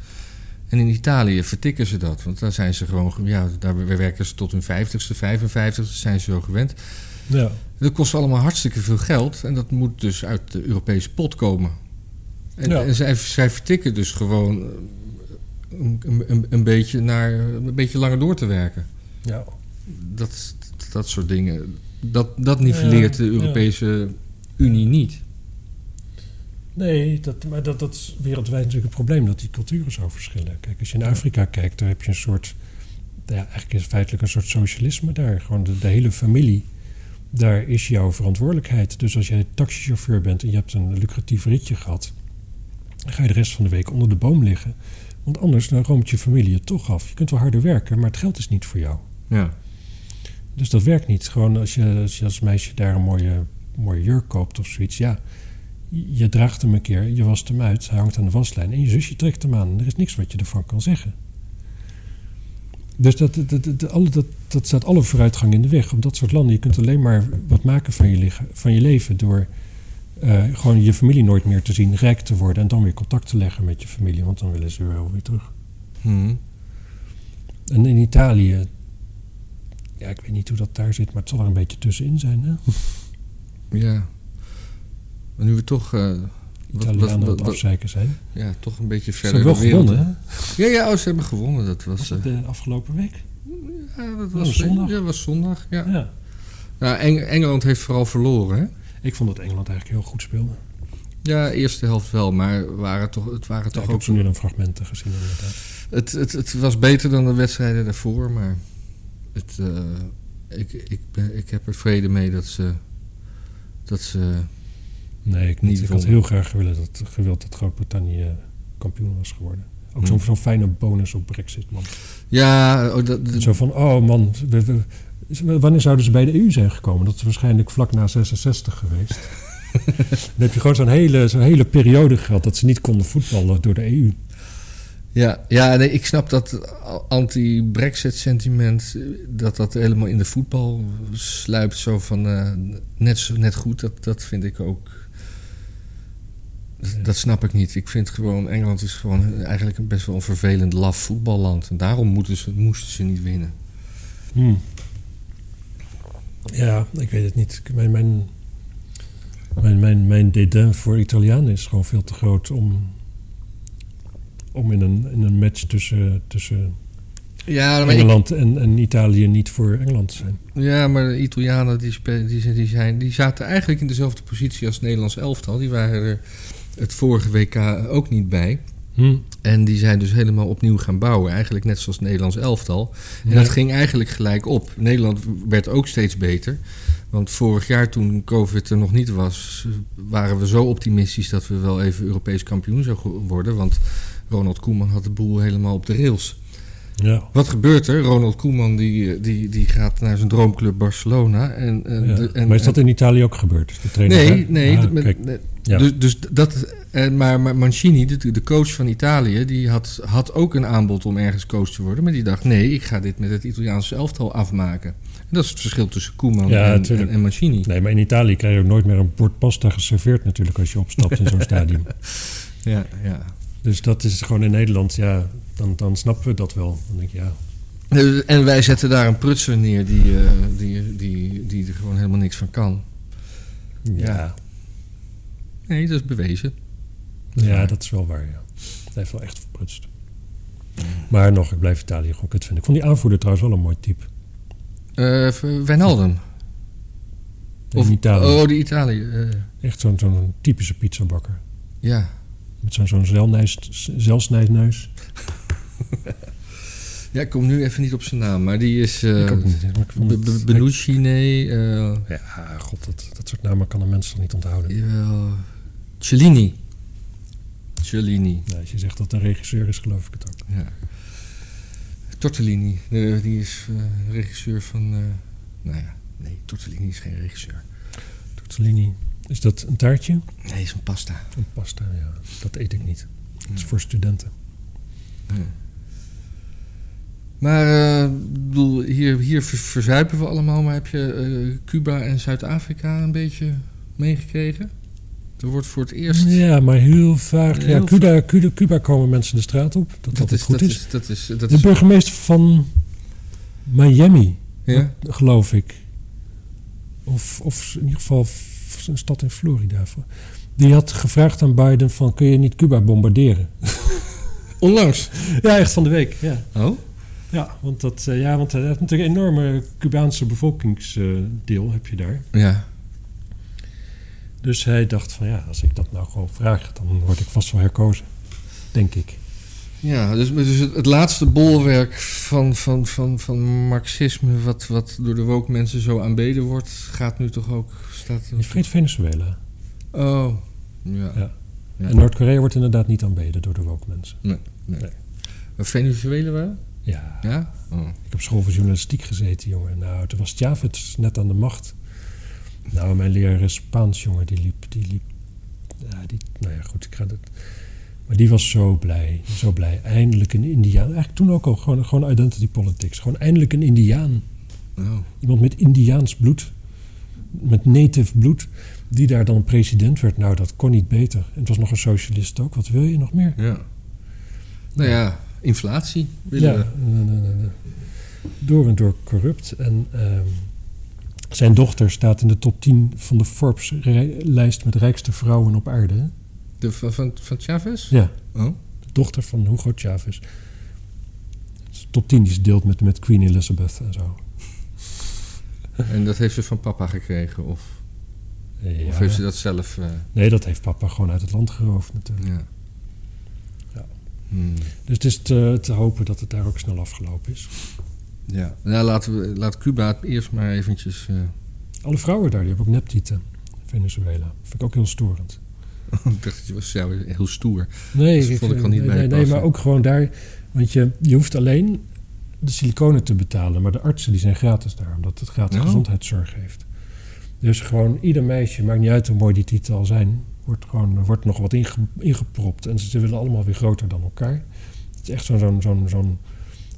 Speaker 1: En in Italië vertikken ze dat. Want daar zijn ze gewoon, ge- ja, daar werken ze tot hun 50ste, 55ste, zijn ze zo gewend.
Speaker 2: Ja.
Speaker 1: Dat kost allemaal hartstikke veel geld. En dat moet dus uit de Europese pot komen. En,
Speaker 2: Ja.
Speaker 1: en zij, zij vertikken dus gewoon eh, een, een, een beetje naar een beetje langer door te werken
Speaker 2: ja.
Speaker 1: dat, dat soort dingen. Dat, dat nivelleert
Speaker 2: Ja,
Speaker 1: de Europese Unie niet.
Speaker 2: Nee, dat, maar dat, dat is wereldwijd natuurlijk een probleem, dat die culturen zo verschillen. Kijk, als je in Afrika kijkt, daar heb je een soort, nou ja, eigenlijk is het feitelijk een soort socialisme daar. Gewoon de, de hele familie, daar is jouw verantwoordelijkheid. Dus als jij taxichauffeur bent en je hebt een lucratief ritje gehad, Dan ga je de rest van de week onder de boom liggen. Want anders dan roomt je familie het toch af. Je kunt wel harder werken, maar het geld is niet voor jou.
Speaker 1: Ja.
Speaker 2: Dus dat werkt niet. Gewoon als je als, je als meisje daar een mooie, mooie jurk koopt of zoiets. Ja, je draagt hem een keer, je wast hem uit, hij hangt aan de waslijn. En je zusje trekt hem aan. Er is niks wat je ervan kan zeggen. Dus dat, dat, dat, alle, dat, dat staat alle vooruitgang in de weg. Op dat soort landen, je kunt alleen maar wat maken van je, licha- van je leven... door eh, gewoon je familie nooit meer te zien, rijk te worden... en dan weer contact te leggen met je familie, want dan willen ze wel weer terug.
Speaker 1: Hm.
Speaker 2: En in Italië, ja, ik weet niet hoe dat daar zit, maar het zal er een beetje tussenin zijn. Hè?
Speaker 1: Ja. Maar nu we toch, eh, Wat- wat-
Speaker 2: Italianen aan
Speaker 1: wat-
Speaker 2: het
Speaker 1: wat-
Speaker 2: afzeiken zijn.
Speaker 1: ja, toch een beetje
Speaker 2: Ze
Speaker 1: verder
Speaker 2: hebben wel
Speaker 1: de wereld-
Speaker 2: gewonnen, hè?
Speaker 1: Ja, ja, oh, ze hebben gewonnen. Dat was,
Speaker 2: Was het de afgelopen week?
Speaker 1: eh, ja, dat
Speaker 2: was
Speaker 1: was
Speaker 2: zondag?
Speaker 1: Ja, was zondag. Ja.
Speaker 2: Ja.
Speaker 1: Nou, Eng- Engeland heeft vooral verloren. Hè?
Speaker 2: Ik vond dat Engeland eigenlijk heel goed speelde.
Speaker 1: Ja, eerste helft wel, maar waren toch, het waren
Speaker 2: Ja,
Speaker 1: toch
Speaker 2: ik heb
Speaker 1: ook
Speaker 2: zo nu dan fragmenten gezien inderdaad.
Speaker 1: Het, het, het was beter dan de wedstrijden daarvoor, maar het, eh, ik, ik, ben, ik heb er vrede mee dat ze. Dat ze
Speaker 2: Nee, ik,
Speaker 1: Niet
Speaker 2: niet. ik had
Speaker 1: gewonnen.
Speaker 2: heel graag gewild dat, gewild dat Groot-Brittannië kampioen was geworden. Ook zo'n
Speaker 1: Hmm.
Speaker 2: zo'n fijne bonus op Brexit, man.
Speaker 1: ja, oh, dat, dat-
Speaker 2: Zo van, oh man, we- we- we- wanneer zouden ze bij de EU zijn gekomen? Dat is waarschijnlijk vlak na 66 geweest. Dan heb je gewoon zo'n hele, zo'n hele periode gehad dat ze niet konden voetballen door de E EU.
Speaker 1: ja, ja nee, ik snap dat anti-Brexit sentiment. eh, dat dat helemaal in de voetbal sluipt. Zo van eh, net, zo- net goed, dat, dat vind ik ook. Dat, dat snap ik niet. Ik vind gewoon. Engeland is gewoon eigenlijk een best wel een vervelend laf voetballand. En daarom moeten ze, moesten ze niet winnen.
Speaker 2: Ja, ik weet het niet. Ik- Mijn, mijn, mijn, mijn, mijn dédain voor Italianen is gewoon veel te groot om, om in, een, in een match tussen, tussen
Speaker 1: Ja, maar ik,
Speaker 2: Engeland en, en Italië niet voor Engeland te zijn.
Speaker 1: Ja, maar de Italianen die, spe- die, zijn- die, zijn, die zaten eigenlijk in dezelfde positie als het Nederlands elftal. Die waren er het vorige WK ook niet bij. En die zijn dus helemaal opnieuw gaan bouwen. Eigenlijk net zoals het Nederlands elftal. En
Speaker 2: Ja.
Speaker 1: dat ging eigenlijk gelijk op. Nederland werd ook steeds beter. Want vorig jaar toen COVID er nog niet was... waren we zo optimistisch dat we wel even Europees kampioen zouden worden. Want Ronald Koeman had de boel helemaal op de rails.
Speaker 2: Ja.
Speaker 1: Wat gebeurt er? Ronald Koeman die, eh, die, die gaat naar zijn droomclub Barcelona. En, en,
Speaker 2: Ja.
Speaker 1: de- en-
Speaker 2: maar is dat in Italië ook gebeurd? De trainer,
Speaker 1: Nee,
Speaker 2: daar?
Speaker 1: nee.
Speaker 2: Ah,
Speaker 1: d- met-
Speaker 2: kijk.
Speaker 1: nee,
Speaker 2: Ja.
Speaker 1: Dus, dus dat, en, maar, maar Mancini, de, de coach van Italië, die had, had ook een aanbod om ergens coach te worden. Maar die dacht, nee, ik ga dit met het Italiaanse elftal afmaken. En dat is het verschil tussen Koeman
Speaker 2: Ja,
Speaker 1: en, en,
Speaker 2: tuurlijk.
Speaker 1: en Mancini.
Speaker 2: Nee, maar in Italië krijg je ook nooit meer een bord pasta geserveerd natuurlijk als je opstapt in zo'n stadium.
Speaker 1: Ja, ja.
Speaker 2: Dus dat is gewoon in Nederland, ja, dan, dan snappen we dat wel. Dan denk ik, ja,
Speaker 1: Eh, En wij zetten daar een prutser neer die, eh, die, die, die er gewoon helemaal niks van kan.
Speaker 2: ja,
Speaker 1: Nee, dat is bewezen.
Speaker 2: ja, dat is wel waar, ja. Hij heeft wel echt verprutst. Maar nog, ik blijf Italië gewoon kut vinden. Ik vond die aanvoerder trouwens wel een mooi type.
Speaker 1: Eh, Wijnaldum.
Speaker 2: In Italië.
Speaker 1: Oh, de Italië. eh,
Speaker 2: Echt zo'n zo'n typische pizzabakker.
Speaker 1: ja.
Speaker 2: Met zo'n zo'n zelnijs- zelfsnijdneus.
Speaker 1: ja, ik kom nu even niet op zijn naam, maar die is. eh,
Speaker 2: ik ook niet. Maar ik vond
Speaker 1: Be-
Speaker 2: het-
Speaker 1: Be- Benucci, nee. eh,
Speaker 2: Ja, god, dat, dat soort namen kan een mens toch niet onthouden.
Speaker 1: jawel. Cellini. Cellini,
Speaker 2: Nou, als je zegt dat de regisseur is, geloof ik het ook.
Speaker 1: ja. Tortellini, eh, die is eh, regisseur van. eh, nou ja, nee, Tortellini is geen regisseur.
Speaker 2: Tortellini. Is dat een taartje?
Speaker 1: Nee, is een pasta.
Speaker 2: Een pasta, ja. Dat eet ik niet. Dat is voor studenten.
Speaker 1: Maar eh, ik bedoel, hier, hier ver- verzuipen we allemaal, maar heb je eh, Cuba en Zuid-Afrika een beetje meegekregen? Er wordt voor het eerst.
Speaker 2: Ja, maar heel vaak.
Speaker 1: Heel
Speaker 2: ja,
Speaker 1: vaak.
Speaker 2: Cuba, Cuba, Cuba komen mensen de straat op. Dat, dat goed
Speaker 1: dat
Speaker 2: is.
Speaker 1: is. Dat is, dat
Speaker 2: De
Speaker 1: is
Speaker 2: burgemeester van Miami,
Speaker 1: ja?
Speaker 2: geloof ik. Of, of in ieder geval f- een stad in Florida. Die had gevraagd aan Biden van... kun je niet Cuba bombarderen?
Speaker 1: Onlangs.
Speaker 2: Ja, echt van de week. Ja,
Speaker 1: Oh?
Speaker 2: ja, want, dat, eh, ja, want hij heeft natuurlijk een enorme Cubaanse bevolkingsdeel eh, heb je daar.
Speaker 1: Ja.
Speaker 2: Dus hij dacht van ja, als ik dat nou gewoon vraag... dan word ik vast wel herkozen. Denk ik.
Speaker 1: Ja, dus, dus het, het laatste bolwerk van, van, van, van marxisme, wat, wat door de woke mensen zo aanbeden wordt, gaat nu toch ook. Staat,
Speaker 2: Je vergeet Venezuela.
Speaker 1: oh, ja.
Speaker 2: Ja.
Speaker 1: Ja.
Speaker 2: En Noord-Korea wordt inderdaad niet aanbeden door de woke mensen.
Speaker 1: Maar Venezuela wel?
Speaker 2: Ja,
Speaker 1: Ja? Oh.
Speaker 2: ik heb school voor journalistiek gezeten, jongen. Nou, toen was Chavez net aan de macht. Nou, mijn leraar Spaans, jongen, die liep... Die liep ja, die, nou ja, goed, ik ga dat... Maar die was zo blij, zo blij. Eindelijk een Indiaan. Eigenlijk toen ook al, gewoon, gewoon identity politics. Gewoon eindelijk een Indiaan.
Speaker 1: Oh.
Speaker 2: Iemand met Indiaans bloed, met native bloed, die daar dan president werd. Nou, dat kon niet beter. En het was nog een socialist ook. Wat wil je nog meer?
Speaker 1: Ja. Nou ja, inflatie willen we.
Speaker 2: nee, nee, nee, nee. door en door corrupt. En ehm, zijn dochter staat in de top 10 van de Forbes-lijst met rijkste vrouwen op aarde. hè?
Speaker 1: De, van, van, van Chavez?
Speaker 2: Ja,
Speaker 1: Oh.
Speaker 2: de dochter van Hugo Chavez. Het is de Top 10 die ze deelt met, met Queen Elizabeth en zo.
Speaker 1: En dat heeft ze van papa gekregen? Of, of
Speaker 2: Ja.
Speaker 1: heeft ze dat zelf... eh,
Speaker 2: Nee, dat heeft papa gewoon uit het land geroofd natuurlijk.
Speaker 1: ja.
Speaker 2: Ja.
Speaker 1: Hmm.
Speaker 2: Dus het is te, te hopen dat het daar ook snel afgelopen is.
Speaker 1: Ja. Nou, laten we, laat Cuba het eerst maar eventjes... eh,
Speaker 2: Alle vrouwen daar, die hebben ook neptieten. Venezuela. Vind ik ook heel storend.
Speaker 1: Oh, ik dacht dat je was jou heel stoer.
Speaker 2: Nee,
Speaker 1: Dus vond ik al niet
Speaker 2: nee,
Speaker 1: bij
Speaker 2: nee, nee,
Speaker 1: passen.
Speaker 2: maar ook gewoon daar. Want je, je hoeft alleen de siliconen te betalen. Maar de artsen die zijn gratis daar, omdat het gratis
Speaker 1: Ja.
Speaker 2: gezondheidszorg heeft. Dus gewoon ieder meisje, maakt niet uit hoe mooi die titel al zijn, wordt gewoon er wordt nog wat inge- ingepropt. En ze willen allemaal weer groter dan elkaar. Het is echt zo'n zo'n zo'n zo'n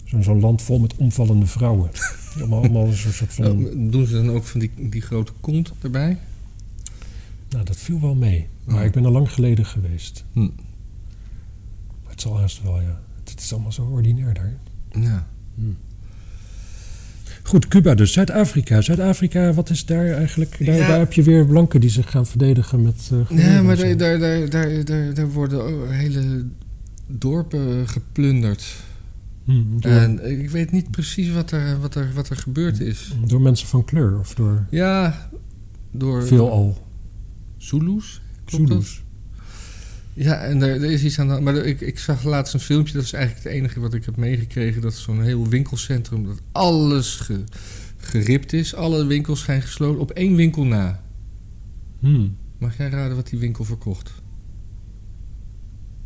Speaker 2: zo'n- zo'n land vol met omvallende vrouwen. allemaal, allemaal een soort- soort van.
Speaker 1: Nou, doen ze dan ook van die, die grote kont erbij?
Speaker 2: Nou, dat viel wel mee. Maar
Speaker 1: Oh.
Speaker 2: ik ben er lang geleden geweest.
Speaker 1: Hm.
Speaker 2: Maar het zal haast wel, ja. Het is allemaal zo ordinair daar.
Speaker 1: Ja.
Speaker 2: Goed, Cuba dus. Zuid-Afrika. Zuid-Afrika, wat is daar eigenlijk? Daar,
Speaker 1: Ja.
Speaker 2: daar heb je weer blanken die zich gaan verdedigen met... eh
Speaker 1: Nee,
Speaker 2: geweren
Speaker 1: maar
Speaker 2: en zo.
Speaker 1: daar, daar, daar, daar, daar, daar worden ook hele dorpen geplunderd.
Speaker 2: Hm, door,
Speaker 1: En ik weet niet precies wat er, wat er, wat er gebeurd is.
Speaker 2: door mensen van kleur of door
Speaker 1: Ja, door
Speaker 2: veelal
Speaker 1: Zulus. Klopt dat?
Speaker 2: Zulus.
Speaker 1: Ja, en er, er is iets aan de hand. Maar er- ik, ik zag laatst een filmpje. Dat is eigenlijk het enige wat ik heb meegekregen. Dat is zo'n heel winkelcentrum. Dat alles ge- geript is. Alle winkels zijn gesloten. Op één winkel na.
Speaker 2: Hm.
Speaker 1: Mag jij raden wat die winkel verkocht?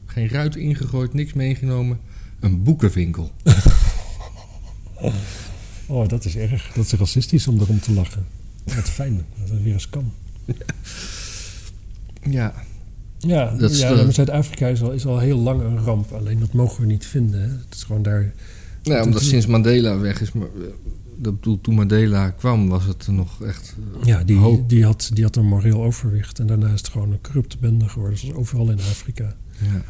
Speaker 1: Geen ruit ingegooid, niks meegenomen. Een boekenwinkel.
Speaker 2: Oh, dat is erg. Dat is racistisch om erom te lachen. Wat fijn dat het weer eens kan.
Speaker 1: Ja,
Speaker 2: Ja,
Speaker 1: Dat is
Speaker 2: ja
Speaker 1: de-
Speaker 2: maar Zuid-Afrika is al, is al heel lang een ramp. Alleen dat mogen we niet vinden. Hè. Het is gewoon daar...
Speaker 1: Nou,
Speaker 2: Dat
Speaker 1: omdat
Speaker 2: is-
Speaker 1: sinds Mandela weg is. Maar, eh, dat bedoel, toen Mandela kwam, was het nog echt. eh,
Speaker 2: Ja, die,
Speaker 1: hoop.
Speaker 2: die, had, die had een moreel overwicht. En daarna is het gewoon een corrupte bende geworden. Zoals overal in Afrika.
Speaker 1: Ja.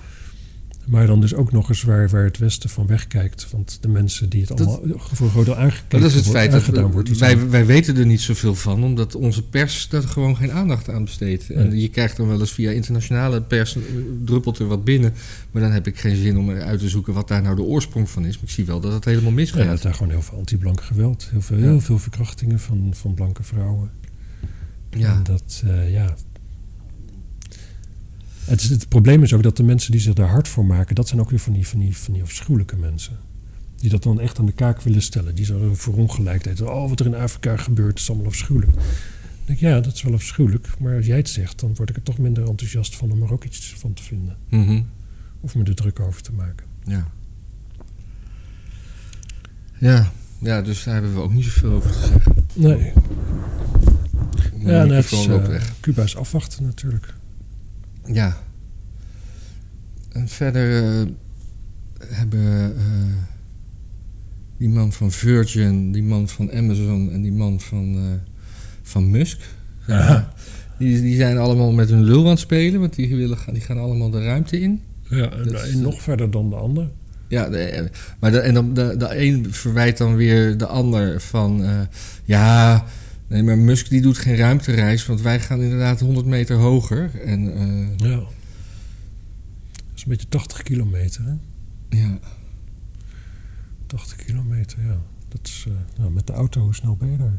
Speaker 2: Maar dan dus ook nog eens waar, waar het Westen van wegkijkt. Want de mensen die het
Speaker 1: Dat-
Speaker 2: allemaal eh, voor een deel aangekeken
Speaker 1: Dat is het
Speaker 2: wordt-
Speaker 1: feit dat
Speaker 2: aangedaan wordt.
Speaker 1: we-
Speaker 2: die
Speaker 1: wij,
Speaker 2: zijn-
Speaker 1: wij weten er niet zoveel van, omdat onze pers daar gewoon geen aandacht aan besteedt. En
Speaker 2: Nee.
Speaker 1: je krijgt dan wel eens via internationale pers, eh, druppelt er wat binnen. Maar dan heb ik geen zin om uit te zoeken wat daar nou de oorsprong van is. Maar ik zie wel dat het helemaal
Speaker 2: Ja, dat
Speaker 1: misgaat.
Speaker 2: is daar gewoon heel veel anti-blank geweld. Heel veel,
Speaker 1: Ja.
Speaker 2: heel veel verkrachtingen van, van blanke vrouwen. En
Speaker 1: Ja,
Speaker 2: dat, eh, ja... Het, is- het probleem is ook dat de mensen die zich daar hard voor maken... dat zijn ook weer van die, van die, van die afschuwelijke mensen. Die dat dan echt aan de kaak willen stellen. Die zo voor ongelijkheid... Oh, wat er in Afrika gebeurt is allemaal afschuwelijk. Dan denk ik, ja, dat is wel afschuwelijk. Maar als jij het zegt, dan word ik er toch minder enthousiast van... om er ook iets van te vinden.
Speaker 1: Mhm.
Speaker 2: Of me er druk over te maken.
Speaker 1: ja. ja. ja dus daar hebben we ook niet zoveel over te zeggen.
Speaker 2: Nee,
Speaker 1: Mijn
Speaker 2: ja, net,
Speaker 1: microfoon loopt weg.
Speaker 2: Cuba is afwachten natuurlijk.
Speaker 1: Ja. En verder eh, hebben eh, die man van Virgin, die man van Amazon en die man van, eh, van Musk.
Speaker 2: Ja.
Speaker 1: Die, die zijn allemaal met hun lul aan het spelen, want die, willen, gaan- die gaan allemaal de ruimte in.
Speaker 2: Ja, en,
Speaker 1: Dat-
Speaker 2: en nog verder dan de ander.
Speaker 1: Ja, de- eh, maar de, en dan de, de een verwijt dan weer de ander van... eh, ja, nee, maar Musk die doet geen ruimtereis, want wij gaan inderdaad 100 meter hoger. En eh,
Speaker 2: Ja. Dat is een beetje 80 kilometer, hè?
Speaker 1: ja,
Speaker 2: 80 kilometer, ja. Dat is, eh, nou, met de auto, hoe snel ben je daar?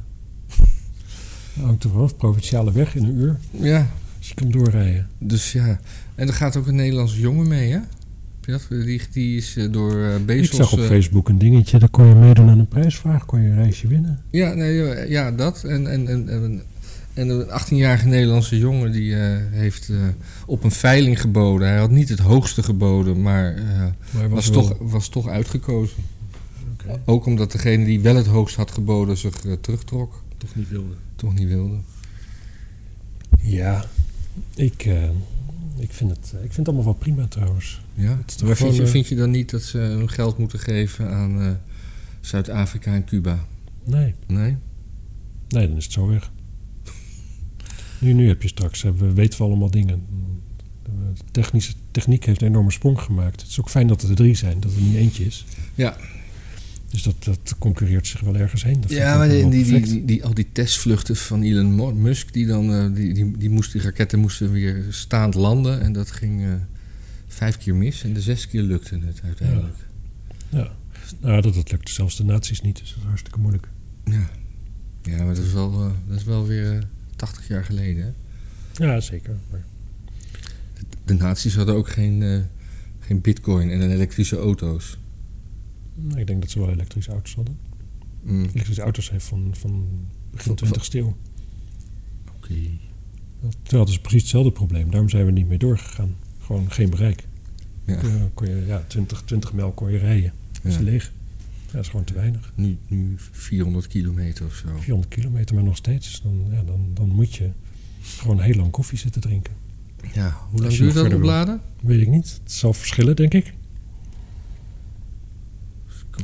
Speaker 2: Dat hangt er vanaf, provinciale weg in een uur.
Speaker 1: ja,
Speaker 2: Dus je kan doorrijden.
Speaker 1: Dus ja, en er gaat ook een Nederlandse jongen mee, hè? Heb je dat? Die, die is eh, door eh, Bezos...
Speaker 2: ik zag op
Speaker 1: eh,
Speaker 2: Facebook een dingetje, daar kon je meedoen aan een prijsvraag, kon je een reisje winnen.
Speaker 1: ja, nee, ja, ja, dat. En, en, en, en, En een 18-jarige Nederlandse jongen die eh, heeft eh, op een veiling geboden. Hij had niet het hoogste geboden, maar, eh,
Speaker 2: Maar hij
Speaker 1: was,
Speaker 2: wel-
Speaker 1: toch, was toch uitgekozen.
Speaker 2: Oké.
Speaker 1: Ook omdat degene die wel het hoogst had geboden zich eh, terugtrok,
Speaker 3: Toch niet wilde.
Speaker 1: toch niet wilde.
Speaker 2: Ja, ik, eh, ik, vind het, eh, ik vind het allemaal wel prima trouwens.
Speaker 1: Ja?
Speaker 2: Het is toch
Speaker 1: Maar vind
Speaker 2: gewoon,
Speaker 1: je,
Speaker 2: eh,
Speaker 1: vind je dan niet dat ze hun geld moeten geven aan eh, Zuid-Afrika en Cuba?
Speaker 2: Nee,
Speaker 1: Nee?
Speaker 2: nee, dan is het zo weg. Nu, nu heb je straks, eh, we weten we allemaal dingen. De technische techniek heeft een enorme sprong gemaakt. Het is ook fijn dat er drie zijn, dat er niet eentje is.
Speaker 1: Ja.
Speaker 2: Dus dat, dat concurreert zich wel ergens heen. Dat vind ik
Speaker 1: Ja,
Speaker 2: ook
Speaker 1: maar die,
Speaker 2: helemaal
Speaker 1: die, die,
Speaker 2: perfect.
Speaker 1: die, die- al die testvluchten van Elon Mo- Musk, die, dan, eh, die, die, die, moest, die raketten moesten weer staand landen. En dat ging eh, vijf keer mis en de zes keer lukte het uiteindelijk.
Speaker 2: Nou, dat, dat lukt zelfs de nazi's niet, dus dat is hartstikke moeilijk.
Speaker 1: Ja, ja. maar dat is wel, eh, dat is wel weer eh, 80 jaar geleden. Hè?
Speaker 2: Ja, zeker. Maar
Speaker 1: De nazi's hadden ook geen, eh, geen bitcoin en elektrische auto's.
Speaker 2: nou, ik denk dat ze wel elektrische auto's hadden.
Speaker 1: Mm. Oké.
Speaker 2: Elektrische auto's zijn van, van begin
Speaker 1: Van-
Speaker 2: 20 e eeuw. Terwijl het is precies hetzelfde probleem. Daarom zijn we niet meer doorgegaan. Gewoon geen bereik.
Speaker 1: Ja.
Speaker 2: Ja. kon je, ja, 20, 20 mijl kon je rijden. Dat is
Speaker 1: Ja.
Speaker 2: leeg. Ja, dat is gewoon te weinig.
Speaker 1: Nu, nu 400 kilometer of zo.
Speaker 2: 400 kilometer, maar nog steeds. Dus Dan, ja, dan, dan moet je gewoon heel lang koffie zitten drinken.
Speaker 1: Ja, hoe lang
Speaker 2: Als je
Speaker 1: duurt
Speaker 2: nog
Speaker 1: dat
Speaker 2: verder wil.
Speaker 1: opladen?
Speaker 2: Weet ik niet. Het zal verschillen, denk ik.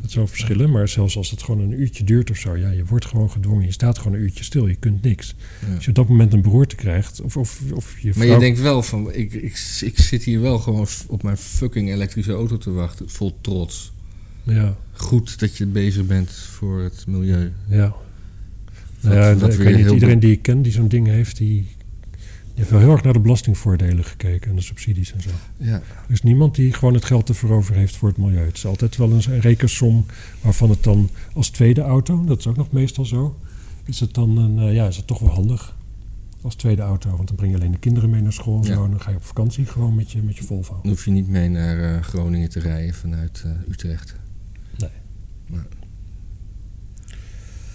Speaker 2: Het zal verschillen, maar zelfs als het gewoon een uurtje duurt of zo, ja, je wordt gewoon gedwongen. Je staat gewoon een uurtje stil, je kunt niks.
Speaker 1: Ja.
Speaker 2: Als je op dat moment een beroerte krijgt, of, of, of je
Speaker 1: Maar
Speaker 2: vrouw-
Speaker 1: je denkt wel van, ik, ik, ik zit hier wel gewoon f- op mijn fucking elektrische auto te wachten, vol trots.
Speaker 2: Ja,
Speaker 1: Goed dat je bezig bent voor het milieu.
Speaker 2: ja.
Speaker 1: Dat-
Speaker 2: Nou ja,
Speaker 1: dat
Speaker 2: ik
Speaker 1: weer
Speaker 2: weet niet,
Speaker 1: heel
Speaker 2: iedereen die ik ken die zo'n ding heeft, die, die heeft wel heel erg naar de belastingvoordelen gekeken en de subsidies en zo.
Speaker 1: Ja,
Speaker 2: Er is niemand die gewoon het geld te veroveren heeft voor het milieu. Het is altijd wel eens een rekensom waarvan het dan als tweede auto, dat is ook nog meestal zo, is het dan een, eh, ja, is het toch wel handig als tweede auto. Want dan breng je alleen de kinderen mee naar school en
Speaker 1: Ja.
Speaker 2: zo. En dan ga je op vakantie gewoon met je, met je Volvo.
Speaker 1: dan hoef je niet mee naar eh, Groningen te rijden vanuit eh, Utrecht.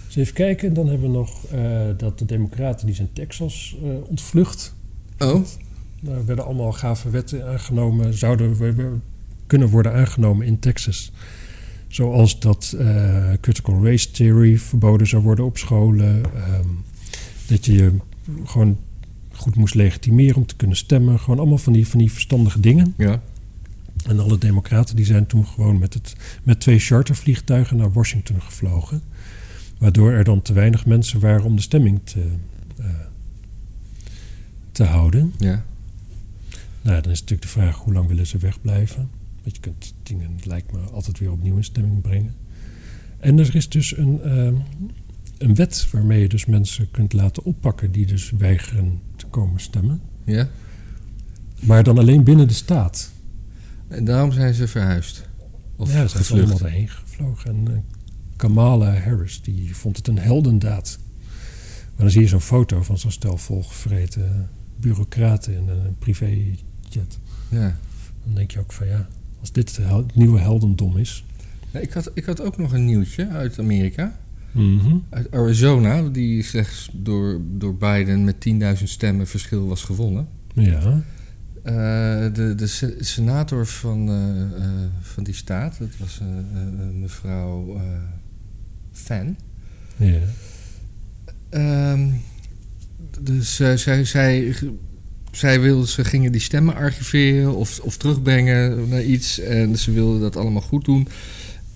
Speaker 2: Dus even kijken, dan hebben we nog eh, dat de democraten die zijn Texas eh, ontvlucht.
Speaker 1: Oh,
Speaker 2: Daar Nou, werden allemaal gave wetten aangenomen, zouden we- we- kunnen worden aangenomen in Texas. Zoals dat eh, critical race theory verboden zou worden op scholen. ehm, dat je je gewoon goed moest legitimeren om te kunnen stemmen. Gewoon allemaal van die, van die verstandige dingen.
Speaker 1: ja.
Speaker 2: En alle democraten die zijn toen gewoon met, het, met twee chartervliegtuigen naar Washington gevlogen. Waardoor er dan te weinig mensen waren om de stemming te, eh, te houden.
Speaker 1: Ja,
Speaker 2: Nou, ja, dan is natuurlijk de vraag hoe lang willen ze wegblijven. Want je kunt dingen, het lijkt me, altijd weer opnieuw in stemming brengen. En er is dus een, ehm, een wet waarmee je dus mensen kunt laten oppakken die dus weigeren te komen stemmen.
Speaker 1: ja.
Speaker 2: Maar dan alleen binnen de staat.
Speaker 1: En daarom zijn ze verhuisd. Of
Speaker 2: ja, ze zijn allemaal
Speaker 1: gevlucht.
Speaker 2: daarheen gevlogen. En eh, Kamala Harris, die vond het een heldendaad. Maar dan zie je zo'n foto van zo'n stel volgevreten bureaucraten in een privéjet.
Speaker 1: Ja.
Speaker 2: Dan denk je ook van ja, als dit het hel- het nieuwe heldendom is.
Speaker 1: Ja, ik, had, ik had ook nog een nieuwtje uit Amerika.
Speaker 2: Mhm.
Speaker 1: Uit Arizona, die slechts door, door Biden met 10.000 stemmen verschil was gewonnen.
Speaker 2: Ja.
Speaker 1: Eh, de, de se- senator van, eh, eh, van die staat, dat was eh, eh, mevrouw eh Fan.
Speaker 2: ja.
Speaker 1: Ehm, dus eh, zij, zij, zij wilde, ze gingen die stemmen archiveren of, of terugbrengen naar iets. En ze wilden dat allemaal goed doen.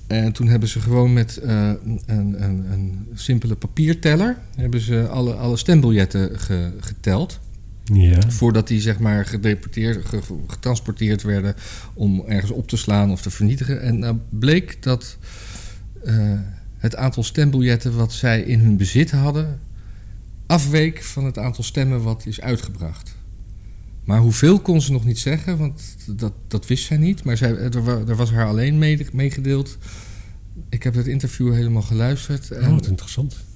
Speaker 1: En toen hebben ze gewoon met eh, een, een, een simpele papierteller... hebben ze alle, alle stembiljetten ge- geteld.
Speaker 2: Ja.
Speaker 1: Voordat die zeg maar gedeporteerd, ge- ge- getransporteerd werden om ergens op te slaan of te vernietigen. En nou bleek dat eh, het aantal stembiljetten wat zij in hun bezit hadden, afweek van het aantal stemmen wat is uitgebracht. Maar hoeveel kon ze nog niet zeggen, want dat, dat wist zij niet. Maar zij, er, wa- er was haar alleen mede- meegedeeld. Ik heb het interview helemaal geluisterd.
Speaker 2: Oh,
Speaker 1: En,
Speaker 2: wat interessant.
Speaker 1: en,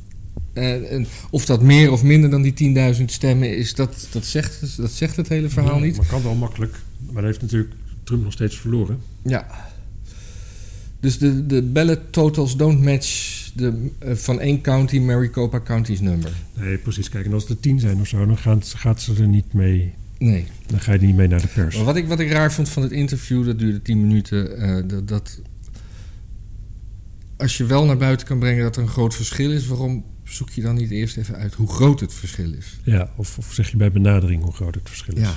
Speaker 1: Eh, en of dat meer of minder dan die 10.000 stemmen is, dat, dat, zegt, dat zegt het hele verhaal
Speaker 2: Ja,
Speaker 1: niet.
Speaker 2: Maar kan wel makkelijk. Maar dat heeft natuurlijk Trump nog steeds verloren.
Speaker 1: Ja. Dus de, de ballot totals don't match de, eh, van één county Maricopa County's number.
Speaker 2: Nee, precies. Kijk, en als het er tien zijn of zo, dan gaan, gaat ze er niet mee.
Speaker 1: Nee.
Speaker 2: Dan ga je er niet mee naar de pers.
Speaker 1: Maar wat ik, wat ik raar vond van het interview, dat duurde 10 minuten. eh, dat, dat als je wel naar buiten kan brengen dat er een groot verschil is, waarom zoek je dan niet eerst even uit hoe groot het verschil is?
Speaker 2: Ja, of, of zeg je bij benadering hoe groot het verschil is.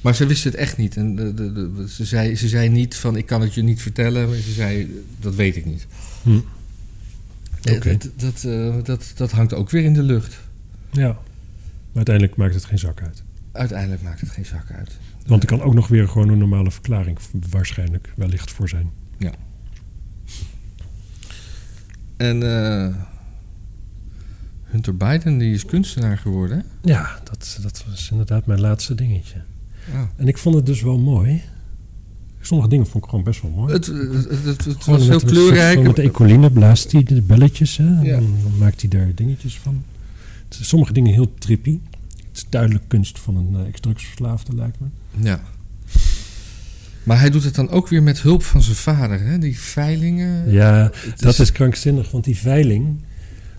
Speaker 1: Maar ze wist het echt niet. En de, de, de- ze, zei, ze zei niet van ik kan het je niet vertellen, maar ze zei dat weet ik niet.
Speaker 2: Hm.
Speaker 1: Eh,
Speaker 2: Oké.
Speaker 1: Dat, dat, eh, dat, dat hangt ook weer in de lucht.
Speaker 2: Ja. Maar uiteindelijk maakt het geen zak uit.
Speaker 1: Uiteindelijk maakt het geen zak uit.
Speaker 2: Want er kan ook nog weer gewoon een normale verklaring v- waarschijnlijk wellicht voor zijn.
Speaker 1: En eh, Hunter Biden die is kunstenaar geworden. hè?
Speaker 2: Ja, dat, dat was inderdaad mijn laatste dingetje.
Speaker 1: Ah.
Speaker 2: En ik vond het dus wel mooi. Sommige dingen vond ik gewoon best wel mooi.
Speaker 1: Het, eh, het, het- het- het
Speaker 2: Gewoon
Speaker 1: was heel
Speaker 2: met- met-
Speaker 1: kleurrijk.
Speaker 2: Met de ecoline blaast hij de belletjes. Hè? En
Speaker 1: Ja.
Speaker 2: dan, dan maakt hij daar dingetjes van. Het is- Sommige dingen heel trippy. Het is duidelijk kunst van een eh, ex-drugsverslaafde, lijkt me.
Speaker 1: Ja. Maar hij doet het dan ook weer met hulp van zijn vader, hè? Die veilingen.
Speaker 2: Ja,
Speaker 1: Het
Speaker 2: dat is krankzinnig, want die veiling...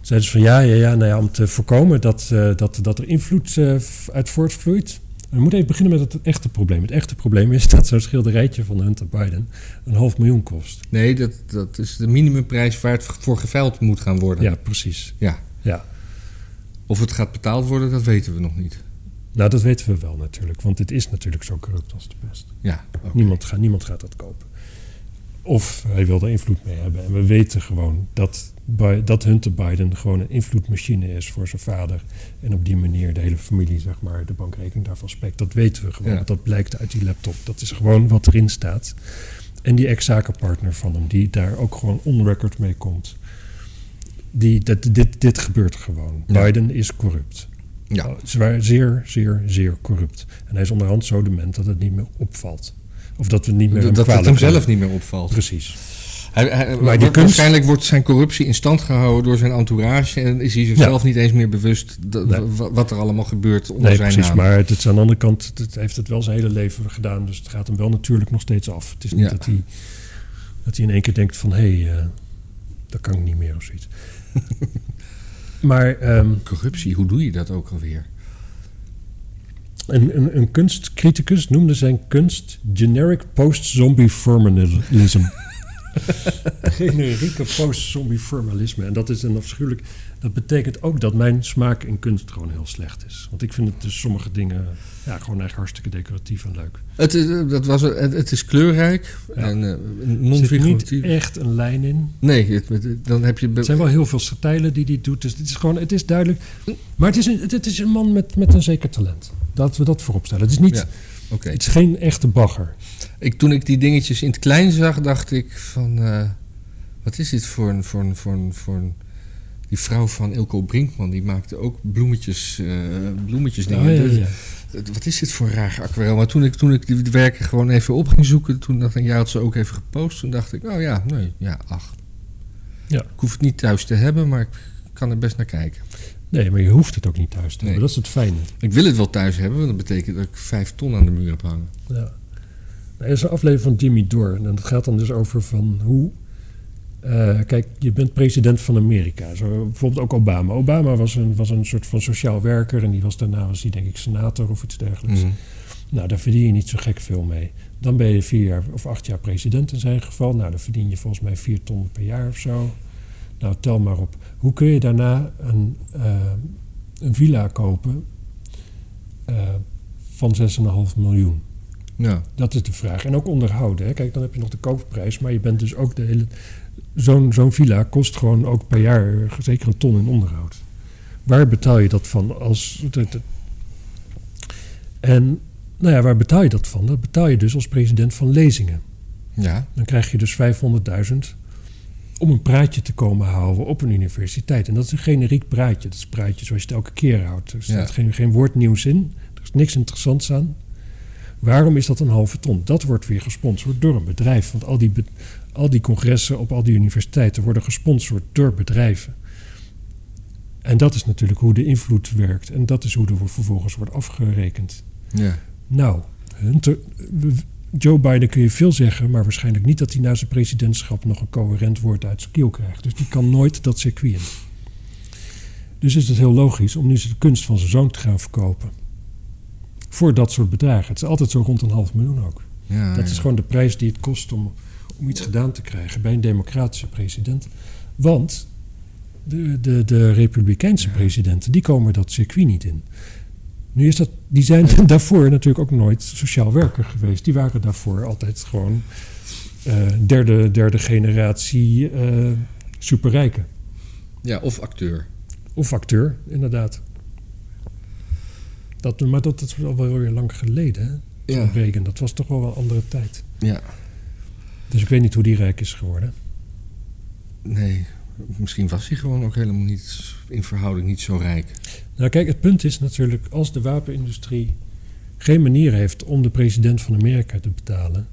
Speaker 2: Zeiden ze van ja, ja, ja, nou ja om te voorkomen dat, eh, dat, dat er invloed eh, v- uit voortvloeit. We moeten even beginnen met het echte probleem. Het echte probleem is dat zo'n schilderijtje van Hunter Biden een half miljoen kost.
Speaker 1: Nee, dat, dat is de minimumprijs waar het voor geveild moet gaan worden.
Speaker 2: Ja, precies.
Speaker 1: Ja.
Speaker 2: Ja.
Speaker 1: Of het gaat betaald worden, dat weten we nog niet.
Speaker 2: Nou, dat weten we wel natuurlijk, want dit is natuurlijk zo corrupt als de pest.
Speaker 1: Ja, oké.
Speaker 2: Niemand, gaat, niemand gaat dat kopen. Of hij wil er invloed mee hebben. En we weten gewoon dat, Bi- dat Hunter Biden gewoon een invloedmachine is voor zijn vader. En op die manier de hele familie, zeg maar, de bankrekening daarvan spekt. Dat weten we gewoon.
Speaker 1: Ja.
Speaker 2: want Dat blijkt uit die laptop. Dat is gewoon wat erin staat. En die ex-zakenpartner van hem, die daar ook gewoon on-record mee komt. Die, dat, dit, dit gebeurt gewoon.
Speaker 1: Ja.
Speaker 2: Biden is corrupt.
Speaker 1: Ja.
Speaker 2: Zwaar, Nou, zeer, zeer, zeer corrupt. En hij is onderhand zo dement dat het niet meer opvalt. Of dat we het niet meer
Speaker 1: Dat,
Speaker 2: hem
Speaker 1: dat het
Speaker 2: kwalijk
Speaker 1: hem zelf
Speaker 2: nemen.
Speaker 1: niet meer opvalt.
Speaker 2: Precies.
Speaker 1: Hij, hij-
Speaker 2: die
Speaker 1: wa-
Speaker 2: kunst-
Speaker 1: Waarschijnlijk wordt zijn corruptie in stand gehouden door zijn entourage. En is hij zichzelf niet eens meer bewust dat-
Speaker 2: Nee.
Speaker 1: wa- wat er allemaal gebeurt onder
Speaker 2: Nee,
Speaker 1: zijn
Speaker 2: precies.
Speaker 1: naam.
Speaker 2: Maar het is aan de andere kant, het heeft het wel zijn hele leven gedaan. Dus het gaat hem wel natuurlijk nog steeds af. Het is niet
Speaker 1: Ja.
Speaker 2: dat, hij, dat hij in één keer denkt van... hé, hey, eh, dat kan ik niet meer of zoiets. maar ehm,
Speaker 1: Corruptie, hoe doe je dat ook alweer?
Speaker 2: Een, een, een kunstcriticus noemde zijn kunst generic post-zombie formalism. Generieke post-zombie formalisme. En dat is een afschuwelijk. Dat betekent ook dat mijn smaak in kunst gewoon heel slecht is. Want ik vind het dus sommige dingen ja, gewoon echt hartstikke decoratief en leuk.
Speaker 1: Het is, eh, dat was, het, het is kleurrijk
Speaker 2: Ja.
Speaker 1: en eh,
Speaker 2: Er zit niet
Speaker 1: non-figuratief.
Speaker 2: echt een lijn in.
Speaker 1: Nee, het- het- dan heb je... be-
Speaker 2: Het zijn wel heel veel satijlen die die doet. Dus het is gewoon, het is duidelijk. Maar het is een, het, het is een man met, met een zeker talent. Dat we dat vooropstellen. Het is niet.
Speaker 1: Ja. Oké.
Speaker 2: Het is geen echte bagger.
Speaker 1: Ik, toen ik die dingetjes in het klein zag, dacht ik van... eh, wat is dit voor een, voor, een, voor, een, voor een... Die vrouw van Ilko Brinkman, die maakte ook bloemetjes, eh bloemetjes dingen. Dus
Speaker 2: Oh, ja, ja, ja.
Speaker 1: Wat is dit voor een raar aquarel? Maar toen ik, toen ik die werken gewoon even op ging zoeken... toen dacht ik, ja, had ze ook even gepost. Toen dacht ik, oh ja, nee, ja, ach.
Speaker 2: Ja.
Speaker 1: Ik hoef het niet thuis te hebben, maar ik kan er best naar kijken.
Speaker 2: Nee, maar je hoeft het ook niet thuis te
Speaker 1: Nee.
Speaker 2: hebben. Dat is het fijne.
Speaker 1: Ik wil het wel thuis hebben, want dat betekent dat ik vijf ton aan de muur heb hangen.
Speaker 2: Ja. Nou, Er is een aflevering van Jimmy Dore. En dat gaat dan dus over van hoe... eh, kijk, je bent president van Amerika. Zo, bijvoorbeeld ook Obama. Obama was een, was een soort van sociaal werker. En die was daarna, was die denk ik, senator of iets dergelijks.
Speaker 1: Mhm.
Speaker 2: Nou, daar verdien je niet zo gek veel mee. Dan ben je vier jaar of acht jaar president in zijn geval. Nou, dan verdien je volgens mij vier ton per jaar of zo. Nou, tel maar op. Hoe kun je daarna een, eh, een villa kopen eh, van 6,5 miljoen?
Speaker 1: Ja.
Speaker 2: Dat is de vraag. En ook onderhouden. Hè? Kijk, dan heb je nog de koopprijs, maar je bent dus ook de hele. Zo'n zo'n villa kost gewoon ook per jaar eh, zeker een ton in onderhoud. Waar betaal je dat van? Als, dat- dat- En nou ja, waar betaal je dat van? Dat betaal je dus als president van lezingen.
Speaker 1: ja.
Speaker 2: Dan krijg je dus 500.000 om een praatje te komen houden op een universiteit. En dat is een generiek praatje. Dat is een praatje zoals je het elke keer houdt. Er staat
Speaker 1: Ja.
Speaker 2: geen, geen woord nieuws in. Er is niks interessants aan. Waarom is dat een halve ton? Dat wordt weer gesponsord door een bedrijf. Want al die, be- al die congressen op al die universiteiten worden gesponsord door bedrijven. En dat is natuurlijk hoe de invloed werkt. En dat is hoe er vervolgens wordt afgerekend.
Speaker 1: ja.
Speaker 2: Nou, Hunter, Joe Biden kun je veel zeggen, maar waarschijnlijk niet dat hij na zijn presidentschap nog een coherent woord uit zijn keel krijgt. Dus die kan nooit dat circuit in. Dus is het heel logisch om nu de kunst van zijn zoon te gaan verkopen. Voor dat soort bedragen. Het is altijd zo rond een half miljoen ook.
Speaker 1: Ja,
Speaker 2: Dat
Speaker 1: ja.
Speaker 2: is gewoon de prijs die het kost om, om iets gedaan te krijgen bij een democratische president. Want de, de, de republikeinse
Speaker 1: Ja.
Speaker 2: presidenten, die komen dat circuit niet in. Nu is dat, die zijn daarvoor natuurlijk ook nooit sociaal werker geweest. Die waren daarvoor altijd gewoon eh, derde, derde generatie eh, superrijken.
Speaker 1: Ja, of acteur.
Speaker 2: Of acteur, inderdaad. Dat, maar dat, dat is al wel weer lang geleden, hè?
Speaker 1: Ja.
Speaker 2: Zo'n Reagan, dat was toch wel een andere tijd.
Speaker 1: Ja,
Speaker 2: Dus ik weet niet hoe die rijk is geworden.
Speaker 1: nee. Misschien was hij gewoon ook helemaal niet in verhouding niet zo rijk.
Speaker 2: Nou kijk, het punt is natuurlijk, als de wapenindustrie geen manier heeft om de president van Amerika te betalen,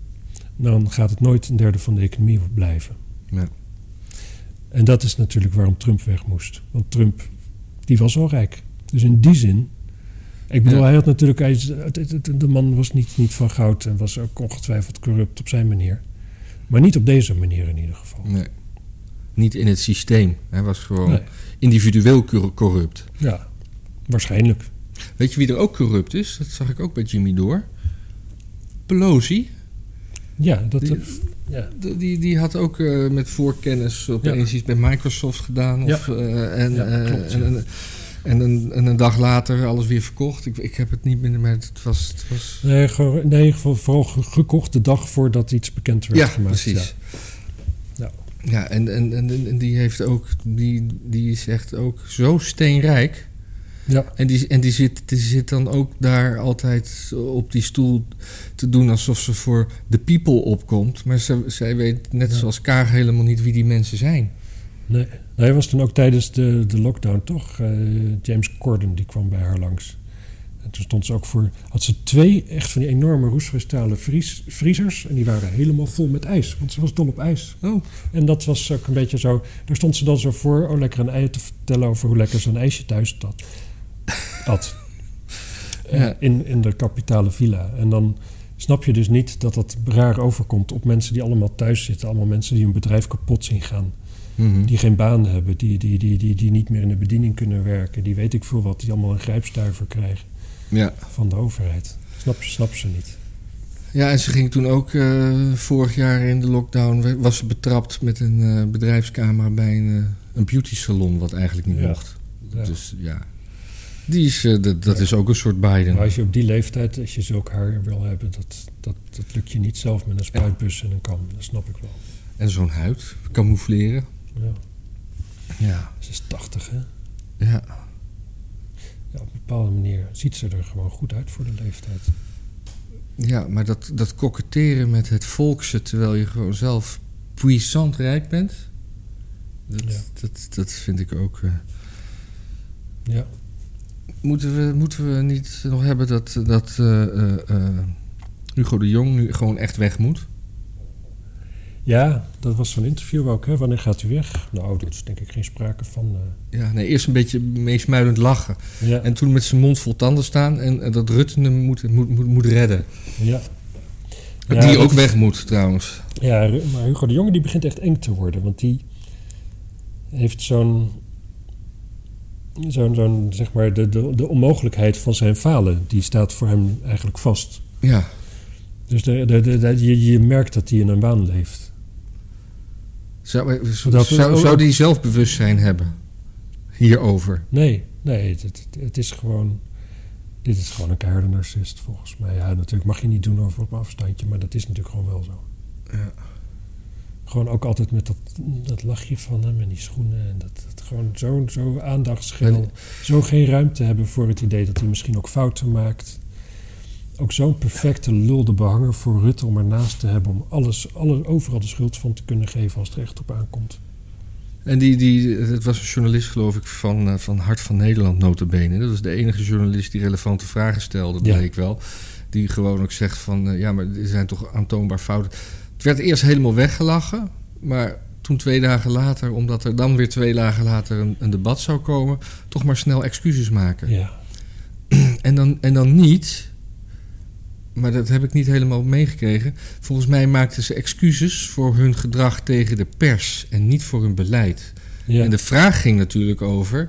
Speaker 2: dan gaat het nooit een derde van de economie blijven.
Speaker 1: Ja.
Speaker 2: En dat is natuurlijk waarom Trump weg moest. Want Trump, die was al rijk. Dus in die zin. Ik bedoel,
Speaker 1: Ja.
Speaker 2: hij had natuurlijk. Hij, is- het- het- het- de man was niet, niet van goud en was ook ongetwijfeld corrupt op zijn manier. Maar niet op deze manier in ieder geval.
Speaker 1: Nee. Niet in het systeem. Hij was gewoon
Speaker 2: Nee.
Speaker 1: individueel cor- corrupt.
Speaker 2: Ja, waarschijnlijk.
Speaker 1: Weet je wie er ook corrupt is? Dat zag ik ook bij Jimmy Door. Pelosi.
Speaker 2: Ja, dat. eh,
Speaker 1: Die-
Speaker 2: ja.
Speaker 1: D- Die, die had ook eh, met voorkennis opeens iets bij Microsoft gedaan. Of, eh, en,
Speaker 2: Ja,
Speaker 1: eh,
Speaker 2: klopt,
Speaker 1: en,
Speaker 2: ja.
Speaker 1: en, en een, en een dag later alles weer verkocht. Ik, ik heb het niet meer, maar het was... Het was
Speaker 2: Nee, gewoon- nee, voor- vooral ge- gekocht de dag voordat iets bekend werd
Speaker 1: ja,
Speaker 2: gemaakt.
Speaker 1: precies.
Speaker 2: Ja.
Speaker 1: Ja, en, en, en, en die heeft ook... Die, die is echt ook zo steenrijk...
Speaker 2: Ja. Ja.
Speaker 1: En, die, en die, zit, die zit dan ook daar altijd op die stoel te doen alsof ze voor de people opkomt. Maar ze, zij weet net
Speaker 2: Ja.
Speaker 1: zoals Kaag helemaal niet wie die mensen zijn.
Speaker 2: Nee. Nou, hij was toen ook tijdens de, de lockdown, toch? Eh, James Corden, die kwam bij haar langs. En toen stond ze ook voor... Had ze twee echt van die enorme roestvristalen vries, vriezers. En die waren helemaal vol met ijs. Want ze was dol op ijs.
Speaker 1: Oh.
Speaker 2: En dat was ook een beetje zo... Daar stond ze dan zo voor, oh lekker een ei te vertellen over hoe lekker ze een ijsje thuis had. had. Eh,
Speaker 1: Ja.
Speaker 2: in, in de kapitale villa. En dan snap je dus niet dat dat raar overkomt op mensen die allemaal thuis zitten. Allemaal mensen die hun bedrijf kapot zien gaan die geen baan hebben, die, die, die, die, die niet meer in de bediening kunnen werken, die weet ik veel wat, die allemaal een grijpstuiver krijgen
Speaker 1: Ja.
Speaker 2: van de overheid. Snap, snap ze niet.
Speaker 1: ja, en ze ging toen ook eh, vorig jaar in de lockdown... we- was ze betrapt met een eh, bedrijfscamera bij een, eh, een beauty salon... wat eigenlijk niet
Speaker 2: Ja.
Speaker 1: mocht.
Speaker 2: Ja.
Speaker 1: Dus ja, die is, eh, dat, dat
Speaker 2: Ja.
Speaker 1: is ook een soort Biden.
Speaker 2: Maar als je op die leeftijd, als je zulk haar wil hebben, dat, dat, dat lukt je niet zelf met een spuitbus en een kam. Dat snap ik wel.
Speaker 1: En zo'n huid, camoufleren.
Speaker 2: Ja,
Speaker 1: Ja.
Speaker 2: ze is 80, hè?
Speaker 1: ja.
Speaker 2: Ja, op een bepaalde manier ziet ze er gewoon goed uit voor de leeftijd.
Speaker 1: Ja, maar dat, dat koketteren met het volkse terwijl je gewoon zelf puissant rijk bent. Dat,
Speaker 2: Ja.
Speaker 1: dat, dat vind ik ook. eh.
Speaker 2: Ja,
Speaker 1: Moeten, we, moeten we niet nog hebben dat, dat eh, eh, eh, Hugo de Jong nu gewoon echt weg moet?
Speaker 2: ja dat was zo'n interview ook, hè? Wanneer gaat u weg? Nou, dat is denk ik geen sprake van. eh.
Speaker 1: Ja, nee, eerst een beetje meesmuilend lachen.
Speaker 2: ja.
Speaker 1: En toen met zijn mond vol tanden staan en eh, dat Rutte hem moet, moet, moet, moet redden.
Speaker 2: ja.
Speaker 1: Die
Speaker 2: dat
Speaker 1: ook
Speaker 2: is-
Speaker 1: weg moet trouwens.
Speaker 2: Ja, Ru- maar Hugo de Jonge die begint echt eng te worden. Want die heeft zo'n... Zo'n, zo'n zeg maar, de, de, de onmogelijkheid van zijn falen... die staat voor hem eigenlijk vast.
Speaker 1: Ja,
Speaker 2: Dus de, de, de- de- je, je merkt dat hij in een waan leeft.
Speaker 1: zou, zou,
Speaker 2: Dat-
Speaker 1: zou, zou die zelfbewustzijn hebben hierover?
Speaker 2: Nee, nee, het, het, het is gewoon... Dit is gewoon een keiharde narcist, volgens mij. Ja, natuurlijk mag je niet doen over op een afstandje... maar dat is natuurlijk gewoon wel zo.
Speaker 1: Ja.
Speaker 2: Gewoon ook altijd met dat, dat lachje van hem en die schoenen. En dat, dat gewoon zo, zo aandachtsgeel.
Speaker 1: En-
Speaker 2: Zo geen ruimte hebben voor het idee dat hij misschien ook fouten maakt. Ook zo'n perfecte lulde behanger voor Rutte om ernaast te hebben. Om alles, alles, overal de schuld van te kunnen geven als het er echt op aankomt.
Speaker 1: En die, die, het was een journalist, geloof ik, van, eh, van Hart van Nederland, notabene. Dat was de enige journalist die relevante vragen stelde,
Speaker 2: Ja.
Speaker 1: bleek wel. Die gewoon ook zegt van, eh, ja, maar er zijn toch aantoonbaar fouten. Het werd eerst helemaal weggelachen, maar toen twee dagen later... omdat er dan weer twee dagen later een, een debat zou komen... toch maar snel excuses maken.
Speaker 2: Ja,
Speaker 1: En, dan, en dan niet maar dat heb ik niet helemaal meegekregen. Volgens mij maakten ze excuses voor hun gedrag tegen de pers en niet voor hun beleid.
Speaker 2: Ja.
Speaker 1: En de vraag ging natuurlijk over: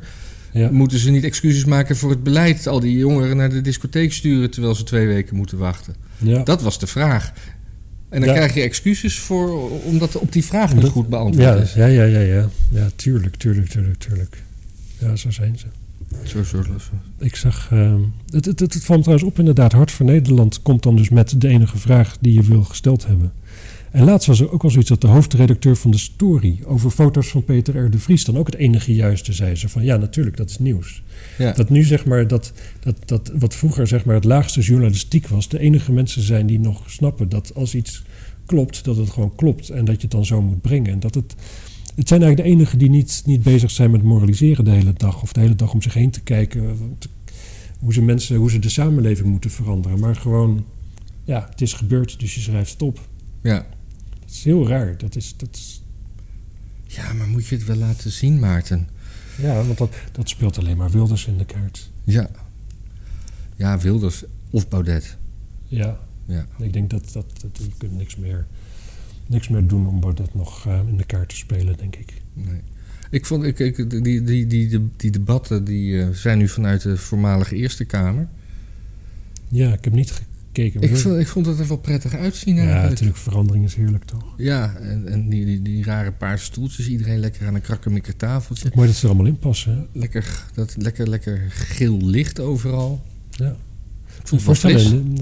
Speaker 2: ja.
Speaker 1: moeten ze niet excuses maken voor het beleid? Al die jongeren naar de discotheek sturen terwijl ze twee weken moeten wachten.
Speaker 2: ja.
Speaker 1: Dat was de vraag. En dan
Speaker 2: Ja.
Speaker 1: krijg je excuses voor, omdat op die vraag niet
Speaker 2: Omdat-
Speaker 1: goed beantwoord
Speaker 2: Ja,
Speaker 1: is.
Speaker 2: ja, ja, ja, ja. Ja, tuurlijk, tuurlijk, tuurlijk, tuurlijk. Ja, zo zijn ze.
Speaker 1: Zo, zo, zo.
Speaker 2: Ik zag... ehm, het, het, het, het valt me trouwens op inderdaad. Hart voor Nederland komt dan dus met de enige vraag die je wil gesteld hebben. En laatst was er ook al zoiets dat de hoofdredacteur van de Story... over foto's van Peter R. de Vries dan ook het enige juiste zei. Ze van, ja, natuurlijk, dat is nieuws.
Speaker 1: Ja.
Speaker 2: Dat nu zeg maar dat, dat, dat wat vroeger zeg maar het laagste journalistiek was... de enige mensen zijn die nog snappen dat als iets klopt... dat het gewoon klopt en dat je het dan zo moet brengen. En dat het, het zijn eigenlijk de enigen die niet, niet bezig zijn met moraliseren de hele dag... of de hele dag om zich heen te kijken... eh, te- hoe ze, mensen, hoe ze de samenleving moeten veranderen. Maar gewoon, ja, het is gebeurd, dus je schrijft het op.
Speaker 1: ja.
Speaker 2: Dat is heel raar. Dat is, dat is,
Speaker 1: ja, maar moet je het wel laten zien, Maarten?
Speaker 2: ja, want dat, dat speelt alleen maar Wilders in de kaart.
Speaker 1: Ja. Ja, Wilders of Baudet.
Speaker 2: Ja.
Speaker 1: Ja.
Speaker 2: Ik denk dat, dat, dat je kunt niks meer, niks meer doen om dat nog eh, in de kaart te spelen, denk ik.
Speaker 1: Nee. Ik vond, ik, ik, die, die, die, die, die debatten die, eh, zijn nu vanuit de voormalige Eerste Kamer.
Speaker 2: Ja, ik heb niet gekeken.
Speaker 1: Ik
Speaker 2: maar-
Speaker 1: vond, ik vond het er wel prettig uitzien
Speaker 2: ja,
Speaker 1: eigenlijk.
Speaker 2: natuurlijk, verandering is heerlijk, toch?
Speaker 1: Ja, en, en die, die, die rare paarse stoeltjes. Iedereen lekker aan een krakkemikker tafeltje.
Speaker 2: Mooi dat ze er allemaal in passen. hè?
Speaker 1: Lekker, dat, lekker, lekker geel licht overal.
Speaker 2: Ja.
Speaker 1: Ik vond
Speaker 2: Moet je
Speaker 1: het wel fris.
Speaker 2: voorstellen,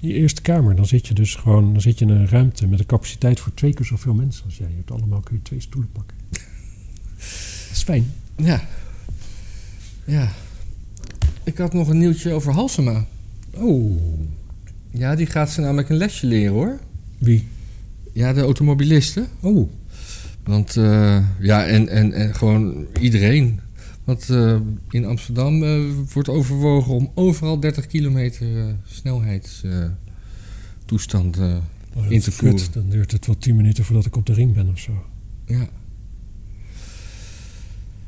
Speaker 2: in je eerste kamer, dan zit je dus gewoon dan zit je in een ruimte met een capaciteit voor twee keer zoveel mensen als jij. Je hebt allemaal kun je twee stoelen pakken. Dat is fijn.
Speaker 1: Ja. Ja. Ik had nog een nieuwtje over Halsema.
Speaker 2: Oh,
Speaker 1: Ja, die gaat ze namelijk een lesje leren hoor.
Speaker 2: wie?
Speaker 1: Ja, de automobilisten.
Speaker 2: Oh,
Speaker 1: Want eh, ja, en, en, en gewoon iedereen. Want eh, in Amsterdam eh, wordt overwogen om overal 30 kilometer eh, snelheidstoestand.
Speaker 2: oh
Speaker 1: In
Speaker 2: dat
Speaker 1: te
Speaker 2: is kut.
Speaker 1: voeren.
Speaker 2: Dan duurt het wel tien minuten voordat ik op de ring ben of zo.
Speaker 1: ja.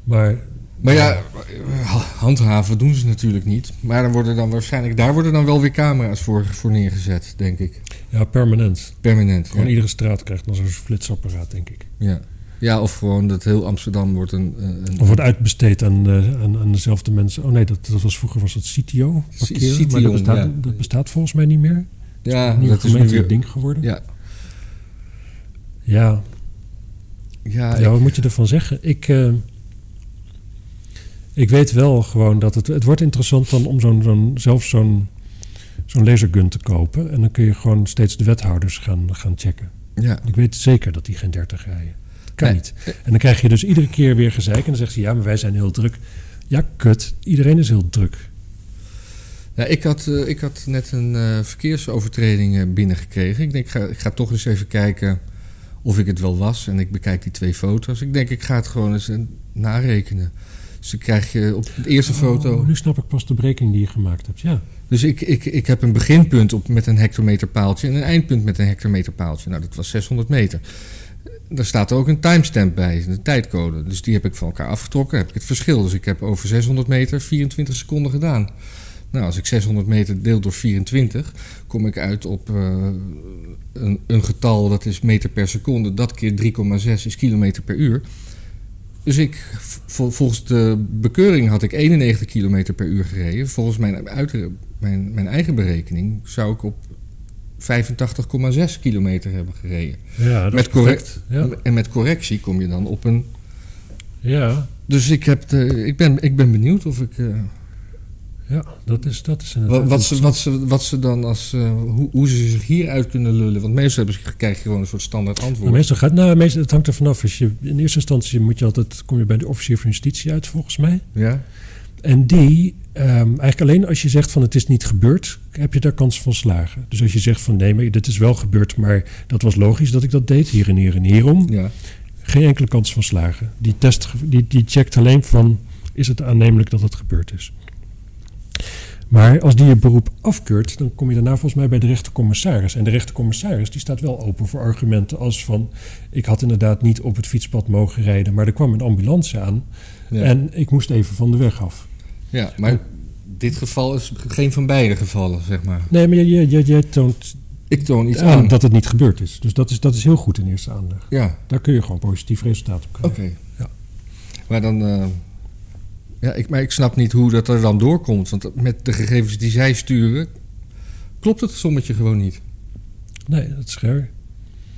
Speaker 2: Maar
Speaker 1: Maar ja, eh, handhaven doen ze natuurlijk niet. Maar dan worden dan waarschijnlijk, daar worden dan wel weer camera's voor, voor neergezet, denk ik.
Speaker 2: ja, permanent.
Speaker 1: Permanent.
Speaker 2: Gewoon
Speaker 1: Ja.
Speaker 2: iedere straat krijgt dan zo'n flitsapparaat, denk ik.
Speaker 1: Ja. ja, of gewoon dat heel Amsterdam wordt een. eh, een
Speaker 2: Of wordt uitbesteed aan, eh, aan, aan dezelfde mensen. Oh nee, dat, dat was vroeger was dat CTO. Parkeren, maar
Speaker 1: CTO,
Speaker 2: dat bestaat,
Speaker 1: ja.
Speaker 2: dat bestaat volgens mij niet meer.
Speaker 1: ja,
Speaker 2: nu een
Speaker 1: dat is nu
Speaker 2: gemeentelijk
Speaker 1: weer.
Speaker 2: ding geworden.
Speaker 1: Ja,
Speaker 2: ja,
Speaker 1: ja,
Speaker 2: Ja,
Speaker 1: Ah, ik-
Speaker 2: wat moet je ervan zeggen? Ik, eh, ik weet wel gewoon dat het... Het wordt interessant dan om zo'n, zo'n, zelf zo'n, zo'n lasergun te kopen. En dan kun je gewoon steeds de wethouders gaan, gaan checken.
Speaker 1: ja.
Speaker 2: Ik weet zeker dat die geen 30 rijden. Kan
Speaker 1: Nee.
Speaker 2: niet. En dan krijg je dus iedere keer weer gezeik. En dan zegt ze, ja, maar wij zijn heel druk. Ja, kut. Iedereen is heel druk.
Speaker 1: Ja, ik, had, eh, ik had net een eh, verkeersovertreding eh, binnengekregen. Ik denk, ik ga, ik ga toch eens even kijken of ik het wel was. En ik bekijk die twee foto's. Ik denk, ik ga het gewoon eens eh, narekenen. Dus dan krijg je op de eerste foto...
Speaker 2: Oh, nu snap ik pas de breking die je gemaakt hebt. Ja,
Speaker 1: Dus ik, ik, ik heb een beginpunt op, met een hectometerpaaltje... en een eindpunt met een hectometerpaaltje. Nou, dat was 600 meter. Daar staat ook een timestamp bij, een tijdcode. Dus die heb ik van elkaar afgetrokken, heb ik het verschil. Dus ik heb over 600 meter 24 seconden gedaan. Nou, als ik 600 meter deel door 24, kom ik uit op eh, een, een getal dat is meter per seconde. Dat keer 3,6 is kilometer per uur. Dus ik, vol- volgens de bekeuring had ik 91 kilometer per uur gereden. Volgens mijn, uitere- mijn, mijn eigen berekening zou ik op 85,6 kilometer hebben gereden.
Speaker 2: ja dat
Speaker 1: Met
Speaker 2: is
Speaker 1: correct.
Speaker 2: Ja.
Speaker 1: En met correctie kom je dan op een.
Speaker 2: ja,
Speaker 1: Dus ik, heb de, ik, ben, ik ben benieuwd of ik. eh,
Speaker 2: ja, dat is, dat is
Speaker 1: wa-
Speaker 2: inderdaad...
Speaker 1: wat, ze, wat, ze, wat ze dan als. eh, hoe, hoe ze zich hieruit kunnen lullen. Want meestal hebben ze, krijg je gewoon een soort standaard
Speaker 2: Nou,
Speaker 1: antwoord.
Speaker 2: meestal gaat, nou, meestal, het hangt er vanaf. Als je, in eerste instantie moet je altijd, kom je bij de officier van justitie uit, volgens mij.
Speaker 1: Ja?
Speaker 2: En die, ehm, eigenlijk alleen als je zegt van het is niet gebeurd, heb je daar kans van slagen. Dus als je zegt van nee, maar dit is wel gebeurd, maar dat was logisch dat ik dat deed, hier en hier en hierom,
Speaker 1: Ja.
Speaker 2: geen enkele kans van slagen. Die test, die, die checkt alleen van is het aannemelijk dat het gebeurd is. Maar als die je beroep afkeurt, dan kom je daarna volgens mij bij de rechtercommissaris. En de rechtercommissaris die staat wel open voor argumenten als van... ik had inderdaad niet op het fietspad mogen rijden, maar er kwam een ambulance aan...
Speaker 1: Ja.
Speaker 2: en ik moest even van de weg af.
Speaker 1: ja, maar dit geval is geen van beide gevallen, zeg maar.
Speaker 2: Nee, maar jij, jij, jij toont
Speaker 1: Ik toon iets
Speaker 2: aan
Speaker 1: aan.
Speaker 2: dat het niet gebeurd is. Dus dat is, dat is heel goed in eerste aanleg.
Speaker 1: Ja,
Speaker 2: Daar kun je gewoon positief resultaat op
Speaker 1: oké.
Speaker 2: krijgen. Ja.
Speaker 1: Maar dan... eh, ja, ik, maar ik snap niet hoe dat er dan doorkomt. Want met de gegevens die zij sturen... klopt het sommetje gewoon niet.
Speaker 2: Nee, dat is raar.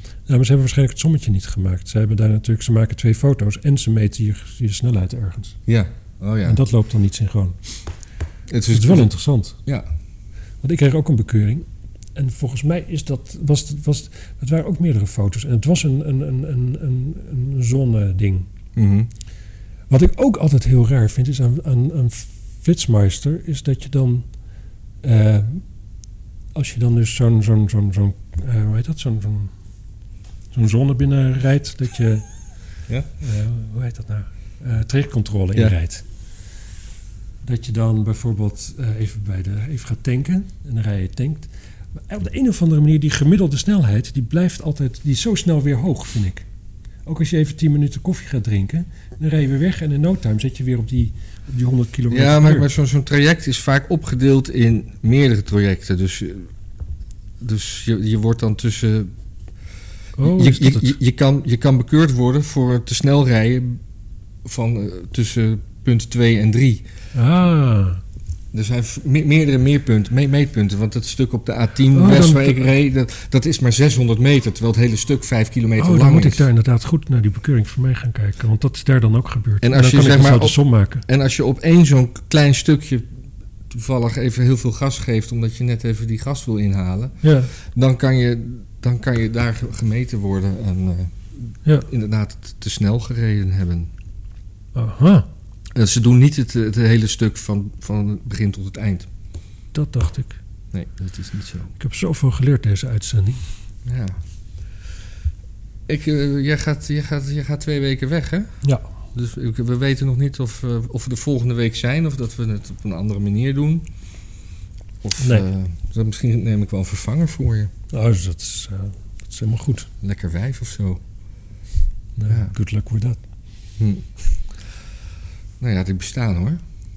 Speaker 2: Nou, maar ze hebben waarschijnlijk het sommetje niet gemaakt. Ze hebben daar natuurlijk, ze maken twee foto's en ze meten je, je snelheid ergens.
Speaker 1: Ja. Oh ja.
Speaker 2: En dat loopt dan niet synchroon.
Speaker 1: het
Speaker 2: Dus het is wel interessant.
Speaker 1: Ja.
Speaker 2: Want ik kreeg ook een bekeuring. En volgens mij is dat, was, het- was, het- het waren ook meerdere foto's. En het was een, een, een, een, een, een zonneding.
Speaker 1: Mhm.
Speaker 2: Wat ik ook altijd heel raar vind is aan, aan, aan Flitsmeister, is dat je dan. eh, als je dan dus zo'n. zo'n zo'n zo'n eh, hoe heet dat? Zo'n zo'n zo'n zone binnenrijdt, dat je.
Speaker 1: Ja.
Speaker 2: eh, hoe heet dat nou? Eh trajectcontrole
Speaker 1: Ja.
Speaker 2: inrijdt. Dat je dan bijvoorbeeld eh, even, bij de, even gaat tanken en dan rij je tankt. Maar op de een of andere manier, die gemiddelde snelheid, die blijft altijd, die is zo snel weer hoog, vind ik. Ook als je even 10 minuten koffie gaat drinken, dan rij je weer weg en in no time zit je weer op die, op die 100 kilometer.
Speaker 1: Ja,
Speaker 2: per
Speaker 1: maar,
Speaker 2: uur.
Speaker 1: maar zo'n zo'n traject is vaak opgedeeld in meerdere trajecten. Dus, je- dus je, je wordt dan tussen.
Speaker 2: Oh,
Speaker 1: je,
Speaker 2: is dat
Speaker 1: je,
Speaker 2: het?
Speaker 1: je, je kan, je kan bekeurd worden voor te snel rijden van, eh, tussen punt 2 en 3.
Speaker 2: Ah,
Speaker 1: Er zijn v- me- meerdere meerpunten, me- meetpunten. Want het stuk op de A10
Speaker 2: Oh,
Speaker 1: west
Speaker 2: dan-
Speaker 1: waar ik reed, dat, dat is maar 600 meter. Terwijl het hele stuk 5 kilometer
Speaker 2: oh, dan
Speaker 1: lang
Speaker 2: moet
Speaker 1: is.
Speaker 2: ik daar inderdaad goed naar die bekeuring voor mij gaan kijken. Want dat is daar dan ook gebeurd.
Speaker 1: En als
Speaker 2: dan
Speaker 1: je,
Speaker 2: kan
Speaker 1: zeg
Speaker 2: ik dan
Speaker 1: maar,
Speaker 2: zo de
Speaker 1: op-
Speaker 2: som maken.
Speaker 1: En als je op één zo'n klein stukje toevallig even heel veel gas geeft... omdat je net even die gas wil inhalen...
Speaker 2: Ja,
Speaker 1: dan kan je, dan kan je daar ge- gemeten worden en eh,
Speaker 2: ja.
Speaker 1: inderdaad t- te snel gereden hebben.
Speaker 2: Aha,
Speaker 1: En ze doen niet het, het hele stuk van, van het begin tot het eind.
Speaker 2: dat dacht ik.
Speaker 1: Nee, dat is niet zo.
Speaker 2: Ik heb zoveel geleerd deze uitzending.
Speaker 1: Ja. Ik, eh, jij, gaat, jij, gaat, jij gaat twee weken weg, hè?
Speaker 2: Ja.
Speaker 1: Dus ik- we weten nog niet of, eh, of we de volgende week zijn of dat we het op een andere manier doen. Of
Speaker 2: Nee.
Speaker 1: eh, dan misschien neem ik wel een vervanger voor je.
Speaker 2: Nou, dus dat is, eh, dat is helemaal goed.
Speaker 1: Lekker wijf of zo.
Speaker 2: Nou,
Speaker 1: Ja.
Speaker 2: Good luck with that.
Speaker 1: Hm. Nou ja, die bestaan hoor.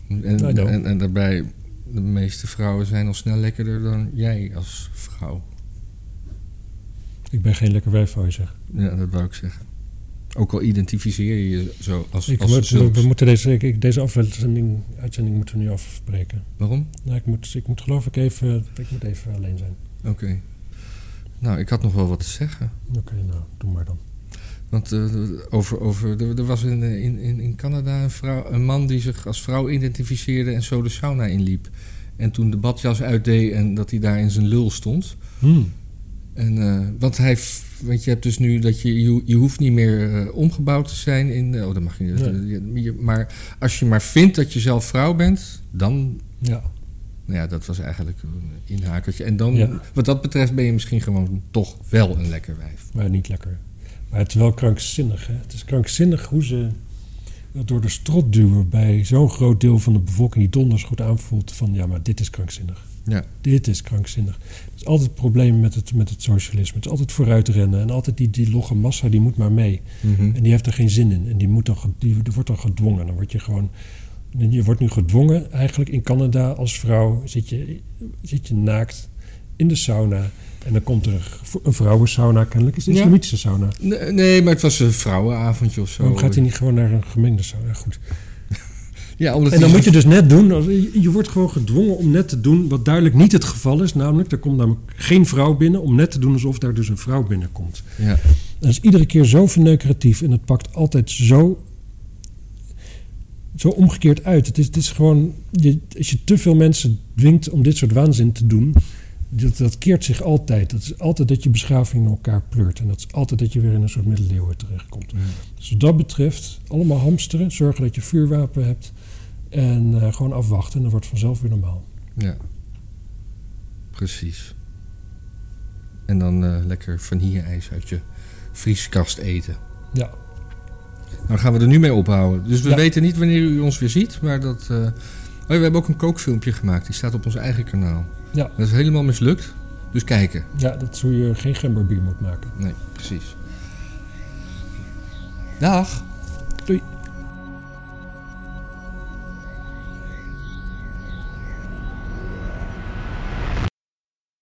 Speaker 2: I
Speaker 1: En,
Speaker 2: know.
Speaker 1: en, en daarbij, de meeste vrouwen zijn al snel lekkerder dan jij als vrouw.
Speaker 2: Ik ben geen lekker wijf, wou je zeggen.
Speaker 1: Ja, dat wou ik zeggen. Ook al identificeer je je zo als,
Speaker 2: Ik
Speaker 1: als
Speaker 2: moet- we,
Speaker 1: zulks.
Speaker 2: we moeten deze, ik- ik, deze aflevering, uitzending moeten we nu afbreken.
Speaker 1: Waarom?
Speaker 2: Nou, ik, moet, ik moet geloof ik even, ik moet even alleen zijn.
Speaker 1: Oké. Nou, ik had nog wel wat te zeggen.
Speaker 2: Oké, nou, doe maar dan.
Speaker 1: Want eh, over, over, er, er was in, eh, in, in, in Canada een, vrouw, een man die zich als vrouw identificeerde en zo de sauna inliep. En toen de badjas uitdeed en dat hij daar in zijn lul stond.
Speaker 2: Hmm.
Speaker 1: En, eh, want, hij, f- want je hebt dus nu dat je, je, je hoeft niet meer eh, omgebouwd te zijn in. eh, oh, dat mag je niet.
Speaker 2: Nee.
Speaker 1: Eh, je- je- maar als je maar vindt dat je zelf vrouw bent, dan.
Speaker 2: Ja.
Speaker 1: Nou ja, dat was eigenlijk een inhakertje. En dan,
Speaker 2: Ja.
Speaker 1: wat dat betreft, ben je misschien gewoon toch wel een lekker wijf.
Speaker 2: Maar niet lekker. Maar het is wel krankzinnig, hè? Het is krankzinnig hoe ze dat door de strot duwen bij zo'n groot deel van de bevolking die donders goed aanvoelt van... ja, maar dit is krankzinnig.
Speaker 1: Ja.
Speaker 2: Dit is krankzinnig. Het is altijd het probleem met het, met het socialisme. Het is altijd vooruitrennen en altijd die, die logge massa, die moet maar mee. En die heeft er geen zin in. En die, moet dan, ge- die wordt dan gedwongen. Dan word je gewoon. Je wordt nu gedwongen, eigenlijk in Canada als vrouw zit je, zit je naakt in de sauna. En dan komt er een, v- een vrouwensauna, kennelijk is het een
Speaker 1: Ja.
Speaker 2: islamitische sauna.
Speaker 1: Nee, nee, maar het was een vrouwenavondje of zo.
Speaker 2: Waarom gaat hij niet gewoon naar een gemengde sauna? Goed.
Speaker 1: Ja, omdat
Speaker 2: En dan
Speaker 1: hij-
Speaker 2: moet je dus net doen, als- je- je wordt gewoon gedwongen om net te doen wat duidelijk niet het geval is. Namelijk, er komt namelijk geen vrouw binnen, om net te doen alsof daar dus een vrouw binnenkomt.
Speaker 1: Ja.
Speaker 2: Dat is iedere keer zo verneukeratief en het pakt altijd zo, zo omgekeerd uit. Het is, het is gewoon, je, als je te veel mensen dwingt om dit soort waanzin te doen, dat, dat keert zich altijd. Dat is altijd dat je beschaving in elkaar pleurt en dat is altijd dat je weer in een soort middeleeuwen terechtkomt.
Speaker 1: Ja.
Speaker 2: Dus wat dat betreft, allemaal hamsteren, zorgen dat je vuurwapen hebt en eh, gewoon afwachten en dan wordt het vanzelf weer normaal.
Speaker 1: ja. Precies. En dan eh, lekker vanille-ijs uit je vrieskast eten.
Speaker 2: Ja,
Speaker 1: Nou gaan we er nu mee ophouden. Dus we
Speaker 2: Ja.
Speaker 1: weten niet wanneer u ons weer ziet, maar dat... eh, Oh, ja, we hebben ook een kookfilmpje gemaakt. Die staat op ons eigen kanaal.
Speaker 2: ja,
Speaker 1: Dat is helemaal mislukt. Dus kijken.
Speaker 2: ja, dat is hoe je geen gemberbier moet maken.
Speaker 1: Nee, precies. Dag.